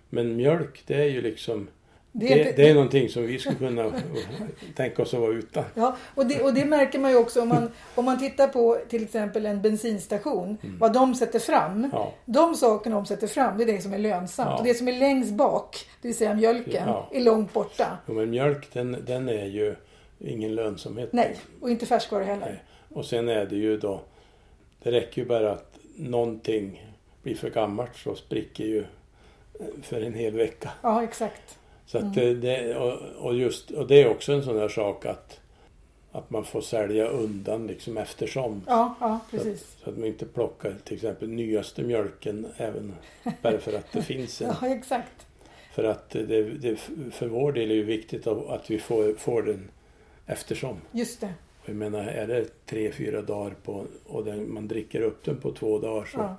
Speaker 3: Men mjölk, det är ju liksom...
Speaker 1: Det
Speaker 3: Det,
Speaker 1: är
Speaker 3: det,
Speaker 1: inte-
Speaker 3: är någonting som vi skulle kunna *laughs* tänka oss att vara utan.
Speaker 1: Ja, och det, och det märker man ju också om man, om man tittar på till exempel en bensinstation, vad de sätter fram.
Speaker 3: Mm. Ja.
Speaker 1: De sakerna de sätter fram, det är det som är lönsamt.
Speaker 3: Ja.
Speaker 1: Och det som är längst bak, det vill säga mjölken,
Speaker 3: Ja.
Speaker 1: är långt borta.
Speaker 3: Jo, Men mjölk, den, den är ju ingen lönsamhet.
Speaker 1: Nej, och inte färskvaror heller.
Speaker 3: Nej. Och sen är det ju då... Det räcker ju bara att någonting blir för gammalt så spricker ju för en hel vecka.
Speaker 1: Ja, exakt.
Speaker 3: Så att det, det, och, och, just, och det är också en sån där sak att, att man får sälja undan liksom eftersom.
Speaker 1: Ja, ja
Speaker 3: Så,
Speaker 1: precis.
Speaker 3: att, så att man inte plockar till exempel nyaste mjölken även bara för
Speaker 1: *laughs*
Speaker 3: att det finns en.
Speaker 1: Ja, exakt.
Speaker 3: För att det, det, för vår del är det ju viktigt att att vi får, får den eftersom.
Speaker 1: Just det.
Speaker 3: Jag menar är det tre, fyra dagar på, och den, man dricker upp den på två dagar så,
Speaker 1: Ja.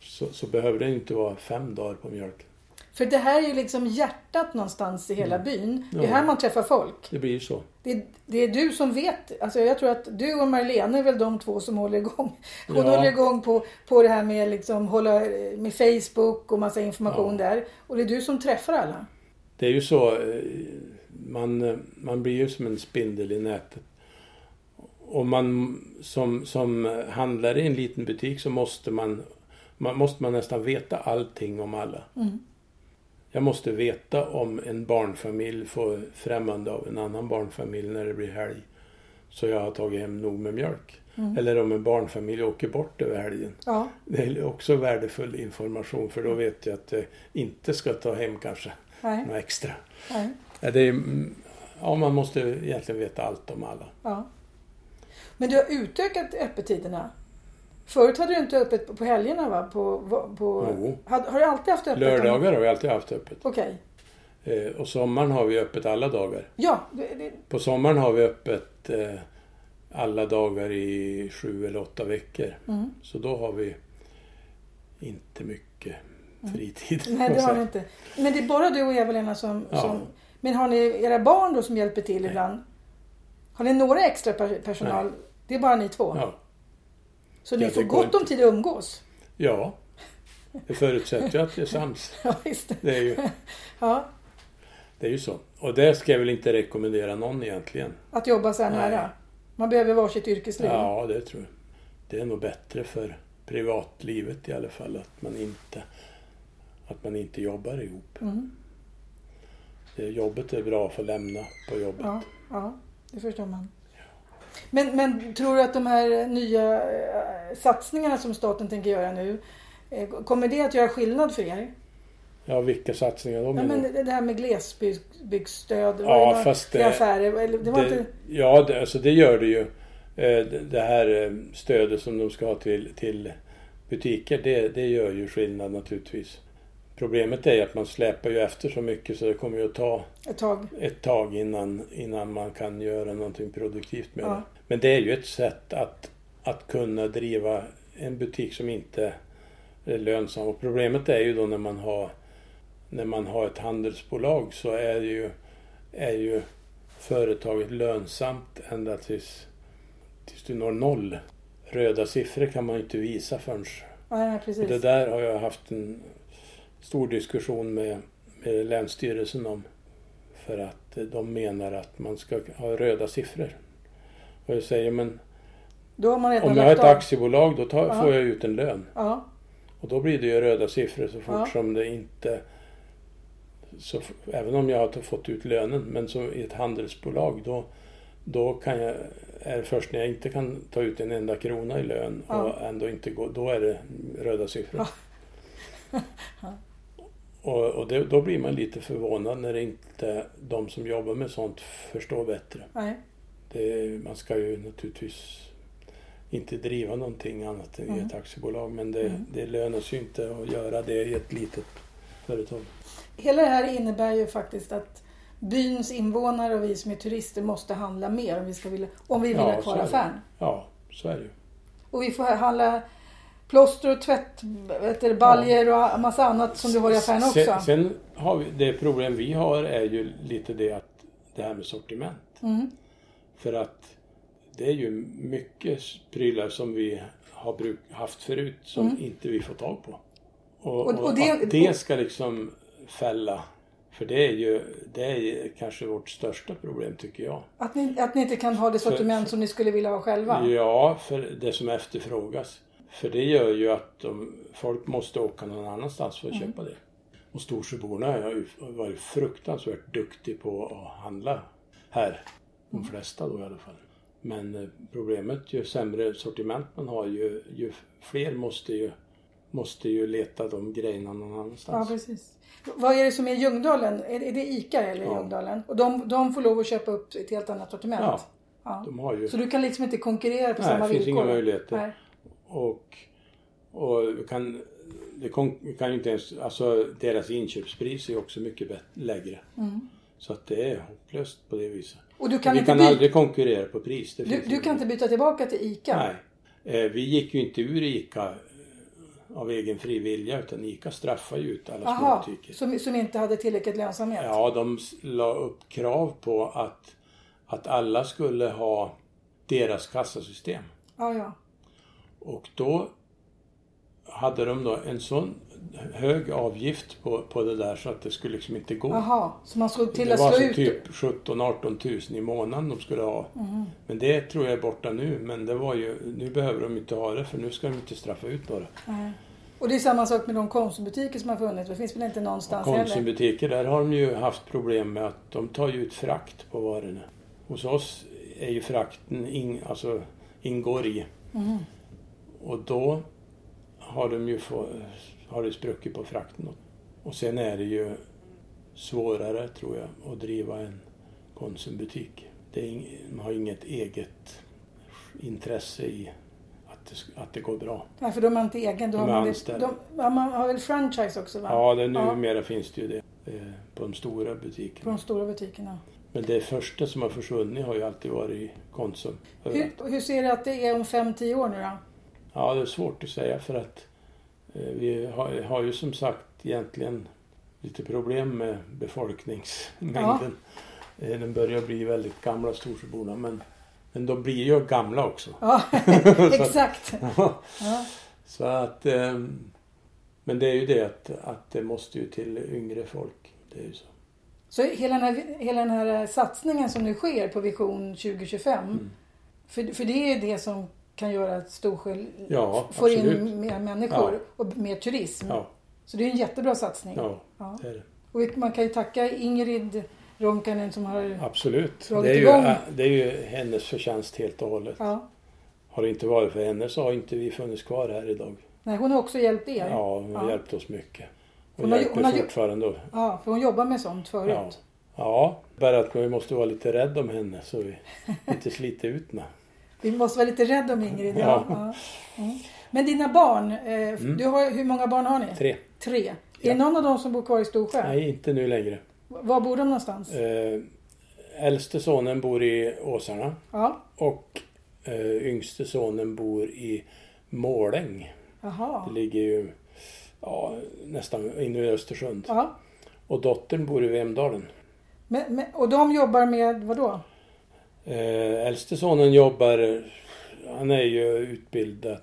Speaker 3: så, så behöver det inte vara fem dagar på mjölken.
Speaker 1: För det här är ju liksom hjärtat någonstans i hela byn. Det är
Speaker 3: Mm. Ja.
Speaker 1: här man träffar folk.
Speaker 3: Det blir ju så.
Speaker 1: Det är, det är du som vet. Alltså jag tror att du och Marlene är väl de två som håller igång. *laughs* Hon
Speaker 3: Ja.
Speaker 1: håller igång på, på det här med, liksom, hålla, eh, med Facebook och massa information där. Och det är du som träffar alla.
Speaker 3: Det är ju så, eh, man, eh, man blir ju som en spindel i nätet. Och man som, som handlare i en liten butik så måste man, man, måste man nästan veta allting om alla. Jag måste veta om en barnfamilj får främmande av en annan barnfamilj när det blir helg. Så jag har tagit hem nog med mjölk. Eller om en barnfamilj åker bort över helgen.
Speaker 1: Ja,
Speaker 3: Det är också värdefull information för då vet jag att jag inte ska ta hem kanske
Speaker 1: nej,
Speaker 3: något extra.
Speaker 1: nej.
Speaker 3: Ja, det är, mm, ja, man måste egentligen veta allt om alla.
Speaker 1: Ja. Men du har utökat öppettiderna. Förut hade du inte öppet på- på helgerna va? På, va- på,
Speaker 3: Jo.
Speaker 1: Hade- har du alltid haft öppet? om-
Speaker 3: Lördagar har vi alltid haft öppet.
Speaker 1: Okej.
Speaker 3: Eh, och sommaren har vi öppet alla dagar.
Speaker 1: Ja, det, det,
Speaker 3: På sommaren har vi öppet eh, alla dagar i sju eller åtta veckor.
Speaker 1: Mm.
Speaker 3: Så då har vi inte mycket fritid.
Speaker 1: Mm. nej
Speaker 3: kan
Speaker 1: det
Speaker 3: man
Speaker 1: har ni
Speaker 3: säga.
Speaker 1: inte. Men det är bara du och Eva-Lena som,
Speaker 3: Ja.
Speaker 1: som... Men har ni era barn då som hjälper till ibland? Har ni några extra per, personal? Det är bara ni två?
Speaker 3: Ja.
Speaker 1: Så ni
Speaker 3: Ja,
Speaker 1: får
Speaker 3: det går
Speaker 1: gott om
Speaker 3: inte.
Speaker 1: tid att umgås? *laughs*
Speaker 3: ja, det förutsätter ju att det är sams.
Speaker 1: Ja, visst.
Speaker 3: Det är, ju,
Speaker 1: Ja,
Speaker 3: det är ju så. Och det ska jag väl inte rekommendera någon egentligen.
Speaker 1: att jobba så här
Speaker 3: Nej.
Speaker 1: nära. Man behöver varsitt yrkesliv.
Speaker 3: Ja, det tror jag. Det är nog bättre för privatlivet i alla fall att man inte, att man inte jobbar ihop.
Speaker 1: Mm.
Speaker 3: Det, jobbet är bra att få lämna på jobbet.
Speaker 1: Ja, ja, det förstår man. Men, men tror du att de här nya eh, satsningarna som staten tänker göra nu, eh, kommer det att göra skillnad för er?
Speaker 3: Ja, vilka satsningar då
Speaker 1: Ja,
Speaker 3: menar
Speaker 1: men
Speaker 3: du?
Speaker 1: det det här med glesbygdsstöd
Speaker 3: Mm. Ja,
Speaker 1: var det några-
Speaker 3: fast
Speaker 1: till
Speaker 3: det-
Speaker 1: affärer. Eller, det var
Speaker 3: det,
Speaker 1: inte,
Speaker 3: Ja, det, alltså det gör det ju. Eh, det- Det här eh, stödet som de ska ha till, till butiker, det, det gör ju skillnad naturligtvis. Problemet är ju att man släpar ju efter så mycket så det kommer ju att ta
Speaker 1: ett tag.
Speaker 3: ett tag innan, innan man kan göra någonting produktivt med
Speaker 1: Ja.
Speaker 3: det. Men det är ju ett sätt att, att kunna driva en butik som inte är lönsam. Och problemet är ju då när man har, när man har ett handelsbolag så är ju, är ju företaget lönsamt ända tills, tills du når noll. Röda siffror kan man ju inte visa förrän
Speaker 1: Ja, nej,
Speaker 3: och
Speaker 1: precis.
Speaker 3: det där har jag haft en stor diskussion med, med Länsstyrelsen om. För att eh, de menar att man ska ha röda siffror. Och jag säger, men
Speaker 1: Då har man redan
Speaker 3: om jag har ett
Speaker 1: lagt av.
Speaker 3: aktiebolag då tar,
Speaker 1: Ja.
Speaker 3: får jag ut en lön.
Speaker 1: Ja,
Speaker 3: Och då blir det ju röda siffror så fort
Speaker 1: Ja.
Speaker 3: som det inte... Så, f- även om jag har t- fått ut lönen, men så i ett handelsbolag då, Då kan jag, är det först när jag inte kan ta ut en enda krona i lön
Speaker 1: Ja.
Speaker 3: och ändå inte gå, då är det röda siffror. *laughs* Och, och det, då blir man lite förvånad när det inte de som jobbar med sånt förstår bättre.
Speaker 1: Nej.
Speaker 3: Det, man ska ju naturligtvis inte driva någonting annat än i ett aktiebolag men det, det lönar sig inte att göra det i ett litet företag.
Speaker 1: Hela det här innebär ju faktiskt att byns invånare och vi som är turister måste handla mer om vi, ska vilja, om vi vill
Speaker 3: Ja,
Speaker 1: ha
Speaker 3: så
Speaker 1: kvar
Speaker 3: är det.
Speaker 1: affären.
Speaker 3: Ja, så är det ju.
Speaker 1: Och vi får handla plåster och tvätt, vet du, baljer och massa annat som du har i affären också.
Speaker 3: Sen, sen har vi, det problem vi har är ju lite det att det här med sortiment.
Speaker 1: Mm.
Speaker 3: För att det är ju mycket prylar som vi har bruk, haft förut som inte vi får tag på. Och,
Speaker 1: Mm. Och-
Speaker 3: och,
Speaker 1: och det-
Speaker 3: att det ska liksom fälla. För det är ju det är ju kanske vårt största problem tycker jag.
Speaker 1: Att, ni, att ni inte kan ha det sortiment som ni skulle vilja ha själva.
Speaker 3: Ja, för det som efterfrågas. För det gör ju att de, folk måste åka någon annanstans för att
Speaker 1: Mm.
Speaker 3: köpa det. Och Storsjöborna har ju varit fruktansvärt duktig på att handla här. De
Speaker 1: Mm.
Speaker 3: flesta då i alla fall. Men eh, problemet, ju sämre sortiment man har ju, ju fler måste ju, måste ju leta de grejerna någon
Speaker 1: Ja,
Speaker 3: annanstans.
Speaker 1: precis. Vad är det som är Ljungdalen? Är det, är det ICA eller
Speaker 3: Ja.
Speaker 1: Ljungdalen? Och de, de får lov att köpa upp ett helt annat sortiment?
Speaker 3: Ja.
Speaker 1: Ja.
Speaker 3: de har ju...
Speaker 1: Så du kan liksom inte konkurrera på
Speaker 3: Nej,
Speaker 1: samma
Speaker 3: det finns
Speaker 1: villkor?
Speaker 3: inga möjligheter.
Speaker 1: Nej.
Speaker 3: Och, och vi kan, det kon- vi kan ju inte ens, alltså deras inköpspris är ju också mycket bättre, lägre. Så att det är hopplöst på det viset.
Speaker 1: Och du Mm. kan,
Speaker 3: vi
Speaker 1: inte
Speaker 3: kan
Speaker 1: byta,
Speaker 3: aldrig konkurrera på pris. Det
Speaker 1: du,
Speaker 3: finns
Speaker 1: du kan inte byta tillbaka till ICA?
Speaker 3: Nej. Eh, vi gick ju inte ur ICA eh, av egen fri vilja utan ICA straffar ju ut alla små
Speaker 1: Aha,
Speaker 3: butiker.
Speaker 1: som, som inte hade tillräckligt lönsamhet?
Speaker 3: Ja, de s- la upp krav på att, att alla skulle ha deras kassasystem.
Speaker 1: ja, ja.
Speaker 3: Och då hade de då en sån hög avgift på, på det där så att det skulle liksom inte gå.
Speaker 1: Aha, så man såg till
Speaker 3: det
Speaker 1: att
Speaker 3: var
Speaker 1: slå
Speaker 3: alltså
Speaker 1: ut... Mhm.
Speaker 3: typ 17-18 tusen i månaden de skulle ha. Men det tror jag är borta nu. Men det var ju, nu behöver de inte ha det för nu ska de inte straffa ut några.
Speaker 1: Nej. Och det är samma sak med de konsumbutiker som har funnits. Det finns väl inte någonstans heller?
Speaker 3: Konsumbutiker, där har de ju haft problem med att de tar ju ut frakt på varorna. Hos oss är ju frakten in, alltså, ingår i.
Speaker 1: Mm.
Speaker 3: Och då har de ju få, har det spruckit på frakten. Och sen är det ju svårare, tror jag, att driva en Konsumbutik. Det är ing, de har inget eget intresse i att det, sk- att det går bra.
Speaker 1: Nej, för de har inte egen. Då
Speaker 3: De
Speaker 1: har
Speaker 3: är
Speaker 1: man, väl-
Speaker 3: anställda.
Speaker 1: de, ja, man har väl franchise också? Va?
Speaker 3: Ja, det, numera finns det ju det eh, på de stora
Speaker 1: På
Speaker 3: butikerna.
Speaker 1: de stora butikerna.
Speaker 3: Men det första som har försvunnit har ju alltid varit Konsum.
Speaker 1: Hur, hur ser du att det är om 5-10 år nu då?
Speaker 3: Ja, det är svårt att säga för att eh, vi har, har ju som sagt egentligen lite problem med befolkningsmängden. Eh, Den börjar bli väldigt gamla, Storsjöborna, men, men de blir ju
Speaker 1: *laughs*
Speaker 3: gamla också. *laughs*
Speaker 1: Ja, exakt. Ja.
Speaker 3: Så att, ehm, men det är ju det att, att det måste ju till yngre folk. Det är ju så.
Speaker 1: Så hela den, här, hela den här satsningen som nu sker på Vision 2025.
Speaker 3: Mm.
Speaker 1: För, för det är ju det som kan göra att Storsjö
Speaker 3: Ja,
Speaker 1: får
Speaker 3: absolut.
Speaker 1: in mer människor
Speaker 3: Ja.
Speaker 1: och mer turism.
Speaker 3: Ja,
Speaker 1: Så det är en jättebra satsning.
Speaker 3: ja,
Speaker 1: Ja.
Speaker 3: det är det.
Speaker 1: Och man kan ju tacka Ingrid Ronkanen som har...
Speaker 3: Absolut.
Speaker 1: Dragit
Speaker 3: Det är, ju,
Speaker 1: igång.
Speaker 3: eh, det är ju hennes förtjänst helt och hållet.
Speaker 1: Ja.
Speaker 3: Har det inte varit för henne så har inte vi funnits kvar här idag.
Speaker 1: Nej, hon har också hjälpt er.
Speaker 3: Ja, hon har
Speaker 1: Ja.
Speaker 3: hjälpt oss mycket. Och
Speaker 1: Hon har ju-
Speaker 3: hjälper
Speaker 1: hon har ju-
Speaker 3: fortfarande.
Speaker 1: Ja, för hon jobbar med sånt förut.
Speaker 3: Ja, bara att vi måste vara lite rädda om henne så
Speaker 1: *laughs*
Speaker 3: vi inte sliter ut henne.
Speaker 1: Vi måste vara lite rädda om Ingrid. Ja.
Speaker 3: Ja. Mm.
Speaker 1: Ja. Mm. Men dina barn, eh, du har, hur många barn har ni?
Speaker 3: Tre.
Speaker 1: Tre. Är det någon av dem som bor kvar i Storsjö?
Speaker 3: Nej, inte nu längre.
Speaker 1: Var bor de någonstans?
Speaker 3: Eh, äldste sonen bor i Åsarna
Speaker 1: Ja.
Speaker 3: och eh, yngste sonen bor i Måläng.
Speaker 1: Jaha.
Speaker 3: Det ligger ju ja, nästan inne i Östersund.
Speaker 1: Ja.
Speaker 3: Och dottern bor i Vemdalen.
Speaker 1: Men, men, och de jobbar med vad då?
Speaker 3: Eh, äldste sonen jobbar, han är ju utbildad,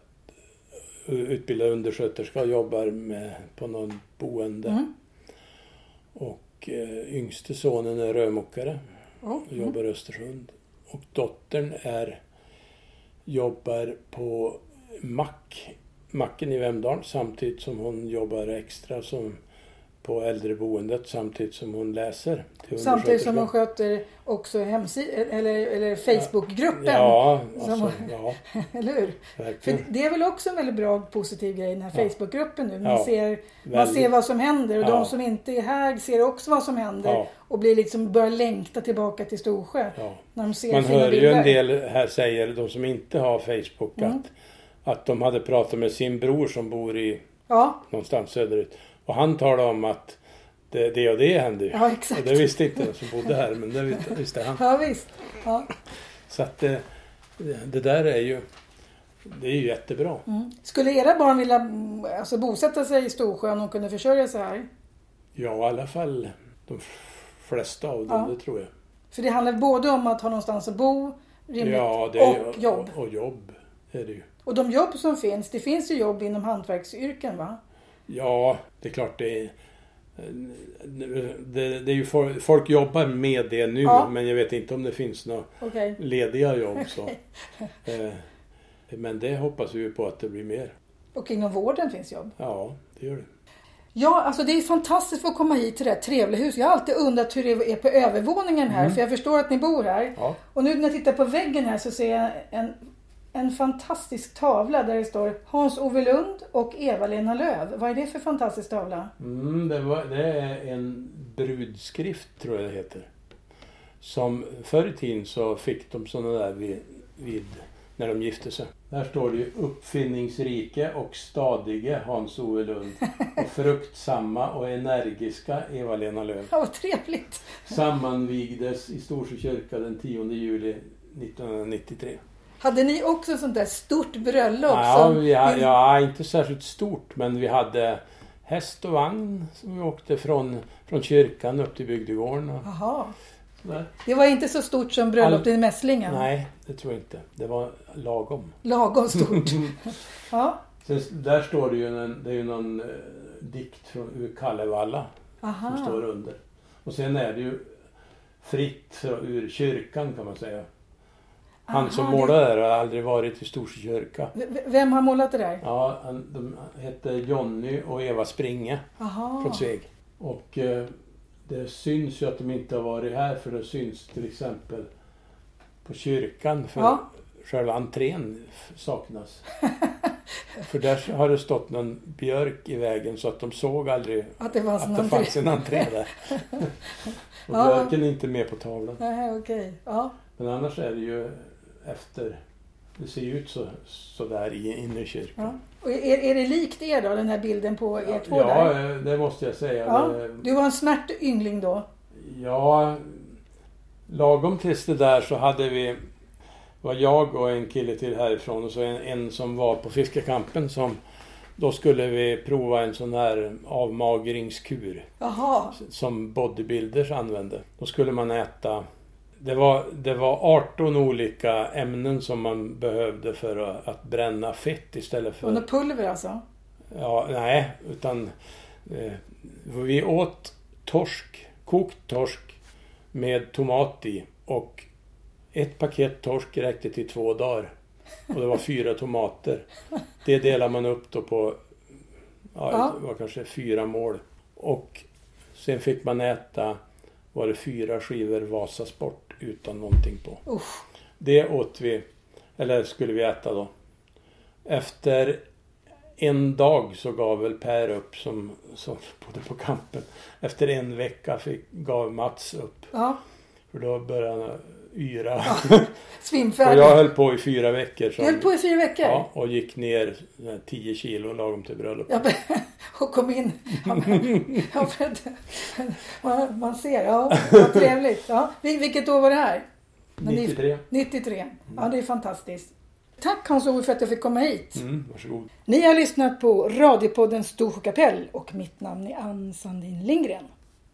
Speaker 3: utbildad undersköterska och jobbar med, på någon boende.
Speaker 1: Mm.
Speaker 3: Och eh, yngste sonen är rörmokare
Speaker 1: Ja. mm.
Speaker 3: och jobbar i Östersund. Och dottern är, jobbar på mack, macken i Vemdalen samtidigt som hon jobbar extra som på äldreboendet samtidigt som hon läser. till
Speaker 1: Samtidigt som hon
Speaker 3: undersköterska.
Speaker 1: sköter också hemsidan eller, eller Facebookgruppen.
Speaker 3: Ja,
Speaker 1: som-
Speaker 3: alltså, ja,
Speaker 1: *laughs* Eller hur? För
Speaker 3: verkligen.
Speaker 1: det är väl också en väldigt bra positiv grej den här
Speaker 3: Ja.
Speaker 1: Facebookgruppen nu. Man,
Speaker 3: Ja,
Speaker 1: ser, man
Speaker 3: väldigt.
Speaker 1: ser vad som händer och
Speaker 3: Ja.
Speaker 1: de som inte är här ser också vad som händer.
Speaker 3: Ja.
Speaker 1: Och blir liksom, börjar längta tillbaka till Storsjö.
Speaker 3: Ja.
Speaker 1: När de ser
Speaker 3: Man
Speaker 1: fina
Speaker 3: hör ju
Speaker 1: bilder. Mm.
Speaker 3: en del här säger, de som inte har Facebook, att, att de hade pratat med sin bror som bor i
Speaker 1: Ja,
Speaker 3: någonstans söderut. Och han talade om att det, det och det hände ju.
Speaker 1: Ja, exakt.
Speaker 3: Och det visste inte den som bodde här, men det
Speaker 1: *laughs*
Speaker 3: visste, visste han.
Speaker 1: ja visst. Ja.
Speaker 3: Så att det, det där är ju, det är ju jättebra.
Speaker 1: Mm. Skulle era barn vilja mm, alltså, bosätta sig i Storsjö om de kunde försörja sig här?
Speaker 3: Ja, i alla fall de f- flesta av dem,
Speaker 1: Ja.
Speaker 3: det tror jag.
Speaker 1: För det handlar både om att ha någonstans att bo rimligt,
Speaker 3: Ja, det är, ju-
Speaker 1: och jobb.
Speaker 3: Och, och jobb är det ju.
Speaker 1: Och de jobb som finns, det finns ju jobb inom hantverksyrken va?
Speaker 3: Ja, det är klart det är... Det, det är ju folk, folk jobbar med det nu
Speaker 1: Ja.
Speaker 3: men jag vet inte om det finns några
Speaker 1: Okej.
Speaker 3: lediga jobb. Så. Eh, men det hoppas vi ju på att det blir mer.
Speaker 1: Och inom vården finns jobb.
Speaker 3: Ja, det gör det.
Speaker 1: Ja, alltså det är fantastiskt att få komma hit till det här trevliga huset. Jag har alltid undrat hur det är på övervåningen här,
Speaker 3: Mm.
Speaker 1: för jag förstår att ni bor här.
Speaker 3: Ja.
Speaker 1: Och nu när jag tittar på väggen här så ser jag en, en fantastisk tavla där det står Hans-Ove Lund och Eva-Lena Löv. Vad är det för fantastisk tavla?
Speaker 3: Mm, det, var, det är en brudskrift tror jag det heter. Som förr i tiden så fick de sådana där vid, vid, när de gifte sig. Där står det ju uppfinningsrike och stadige Hans Ove Lund och fruktsamma och energiska Eva-Lena Löf
Speaker 1: Ja, vad trevligt!
Speaker 3: sammanvigdes i Storsjö kyrka den 10 juli 1993.
Speaker 1: Hade ni också sånt där stort bröllop?
Speaker 3: Ja,
Speaker 1: som-
Speaker 3: vi hade, ja, inte särskilt stort men vi hade häst och vagn som vi åkte från, från kyrkan upp till bygdegården. Och
Speaker 1: Jaha.
Speaker 3: sådär.
Speaker 1: Det var inte så stort som bröllopet i Mässlingen?
Speaker 3: Nej, det tror jag inte. Det var lagom.
Speaker 1: Lagom
Speaker 3: *laughs*
Speaker 1: stort. ja.
Speaker 3: Sen, där står det ju en, det är ju någon eh, dikt från, ur Kalevala som står
Speaker 1: Aha.
Speaker 3: under. Och sen är det ju fritt så, ur kyrkan kan man säga. Han som
Speaker 1: Aha,
Speaker 3: målade där har aldrig varit i Storsjö kyrka.
Speaker 1: det- V- Vem har målat det där?
Speaker 3: Ja, han, de hette Jonny och Eva Springe. från
Speaker 1: Aha.
Speaker 3: Sveg. Och eh, det syns ju att de inte har varit här för det syns till exempel på kyrkan för
Speaker 1: Ja.
Speaker 3: själva entrén f- saknas. *laughs* för där har det stått någon björk i vägen så att de såg aldrig
Speaker 1: Att det fanns
Speaker 3: att det
Speaker 1: någon
Speaker 3: fanns en entré där. och
Speaker 1: Ja.
Speaker 3: björken är inte med på tavlan.
Speaker 1: *laughs* Nej, okej. Ja.
Speaker 3: Men annars är det ju efter, det ser ju ut så, så där i- inne i
Speaker 1: ja.
Speaker 3: kyrkan.
Speaker 1: Och är, är det likt er då, den här bilden på er två där?
Speaker 3: eh, det måste jag säga.
Speaker 1: Ja.
Speaker 3: Det-
Speaker 1: Du var en smärt yngling då?
Speaker 3: Ja, lagom tills det där så hade vi, var jag och en kille till härifrån och så en, en som var på fiskekampen som, då skulle vi prova en sån här avmagringskur
Speaker 1: Jaha.
Speaker 3: som bodybuilders använde. Då skulle man äta, det var, det var 18 olika ämnen som man behövde för att, att bränna fett istället för...
Speaker 1: Och något pulver alltså?
Speaker 3: Ja, nej, utan eh, vi åt torsk, kokt torsk med tomat i och ett paket torsk räckte till två dagar. Och det var fyra tomater. Det delar man upp då på, ja,
Speaker 1: Ja.
Speaker 3: det var kanske fyra mål. Och sen fick man äta, var det fyra skivor Vasasport utan någonting på.
Speaker 1: Usch.
Speaker 3: Det åt vi, eller skulle vi äta då. Efter en dag så gav väl Per upp som, som bodde på kampen. Efter en vecka fick, gav Mats upp.
Speaker 1: Ja.
Speaker 3: För då började han yra. *laughs* och
Speaker 1: Svimfärdig.
Speaker 3: jag höll på i fyra veckor.
Speaker 1: Du
Speaker 3: som-
Speaker 1: höll på i fyra veckor?
Speaker 3: ja, och gick ner eh, 10 kilo lagom till bröllopet.
Speaker 1: Ja, men- *laughs* och kom in. Ja, men- ja, för att- man, man ser, ja, vad trevligt. Ja. Vil- Vilket år var det här? men det-
Speaker 3: 93.
Speaker 1: 93. Ja, det är fantastiskt. Tack Hans-Ove för att jag fick komma hit.
Speaker 3: Mm, varsågod.
Speaker 1: Ni har lyssnat på radiopodden Storsjö kapell och mitt namn är Ann Sandin Lindgren.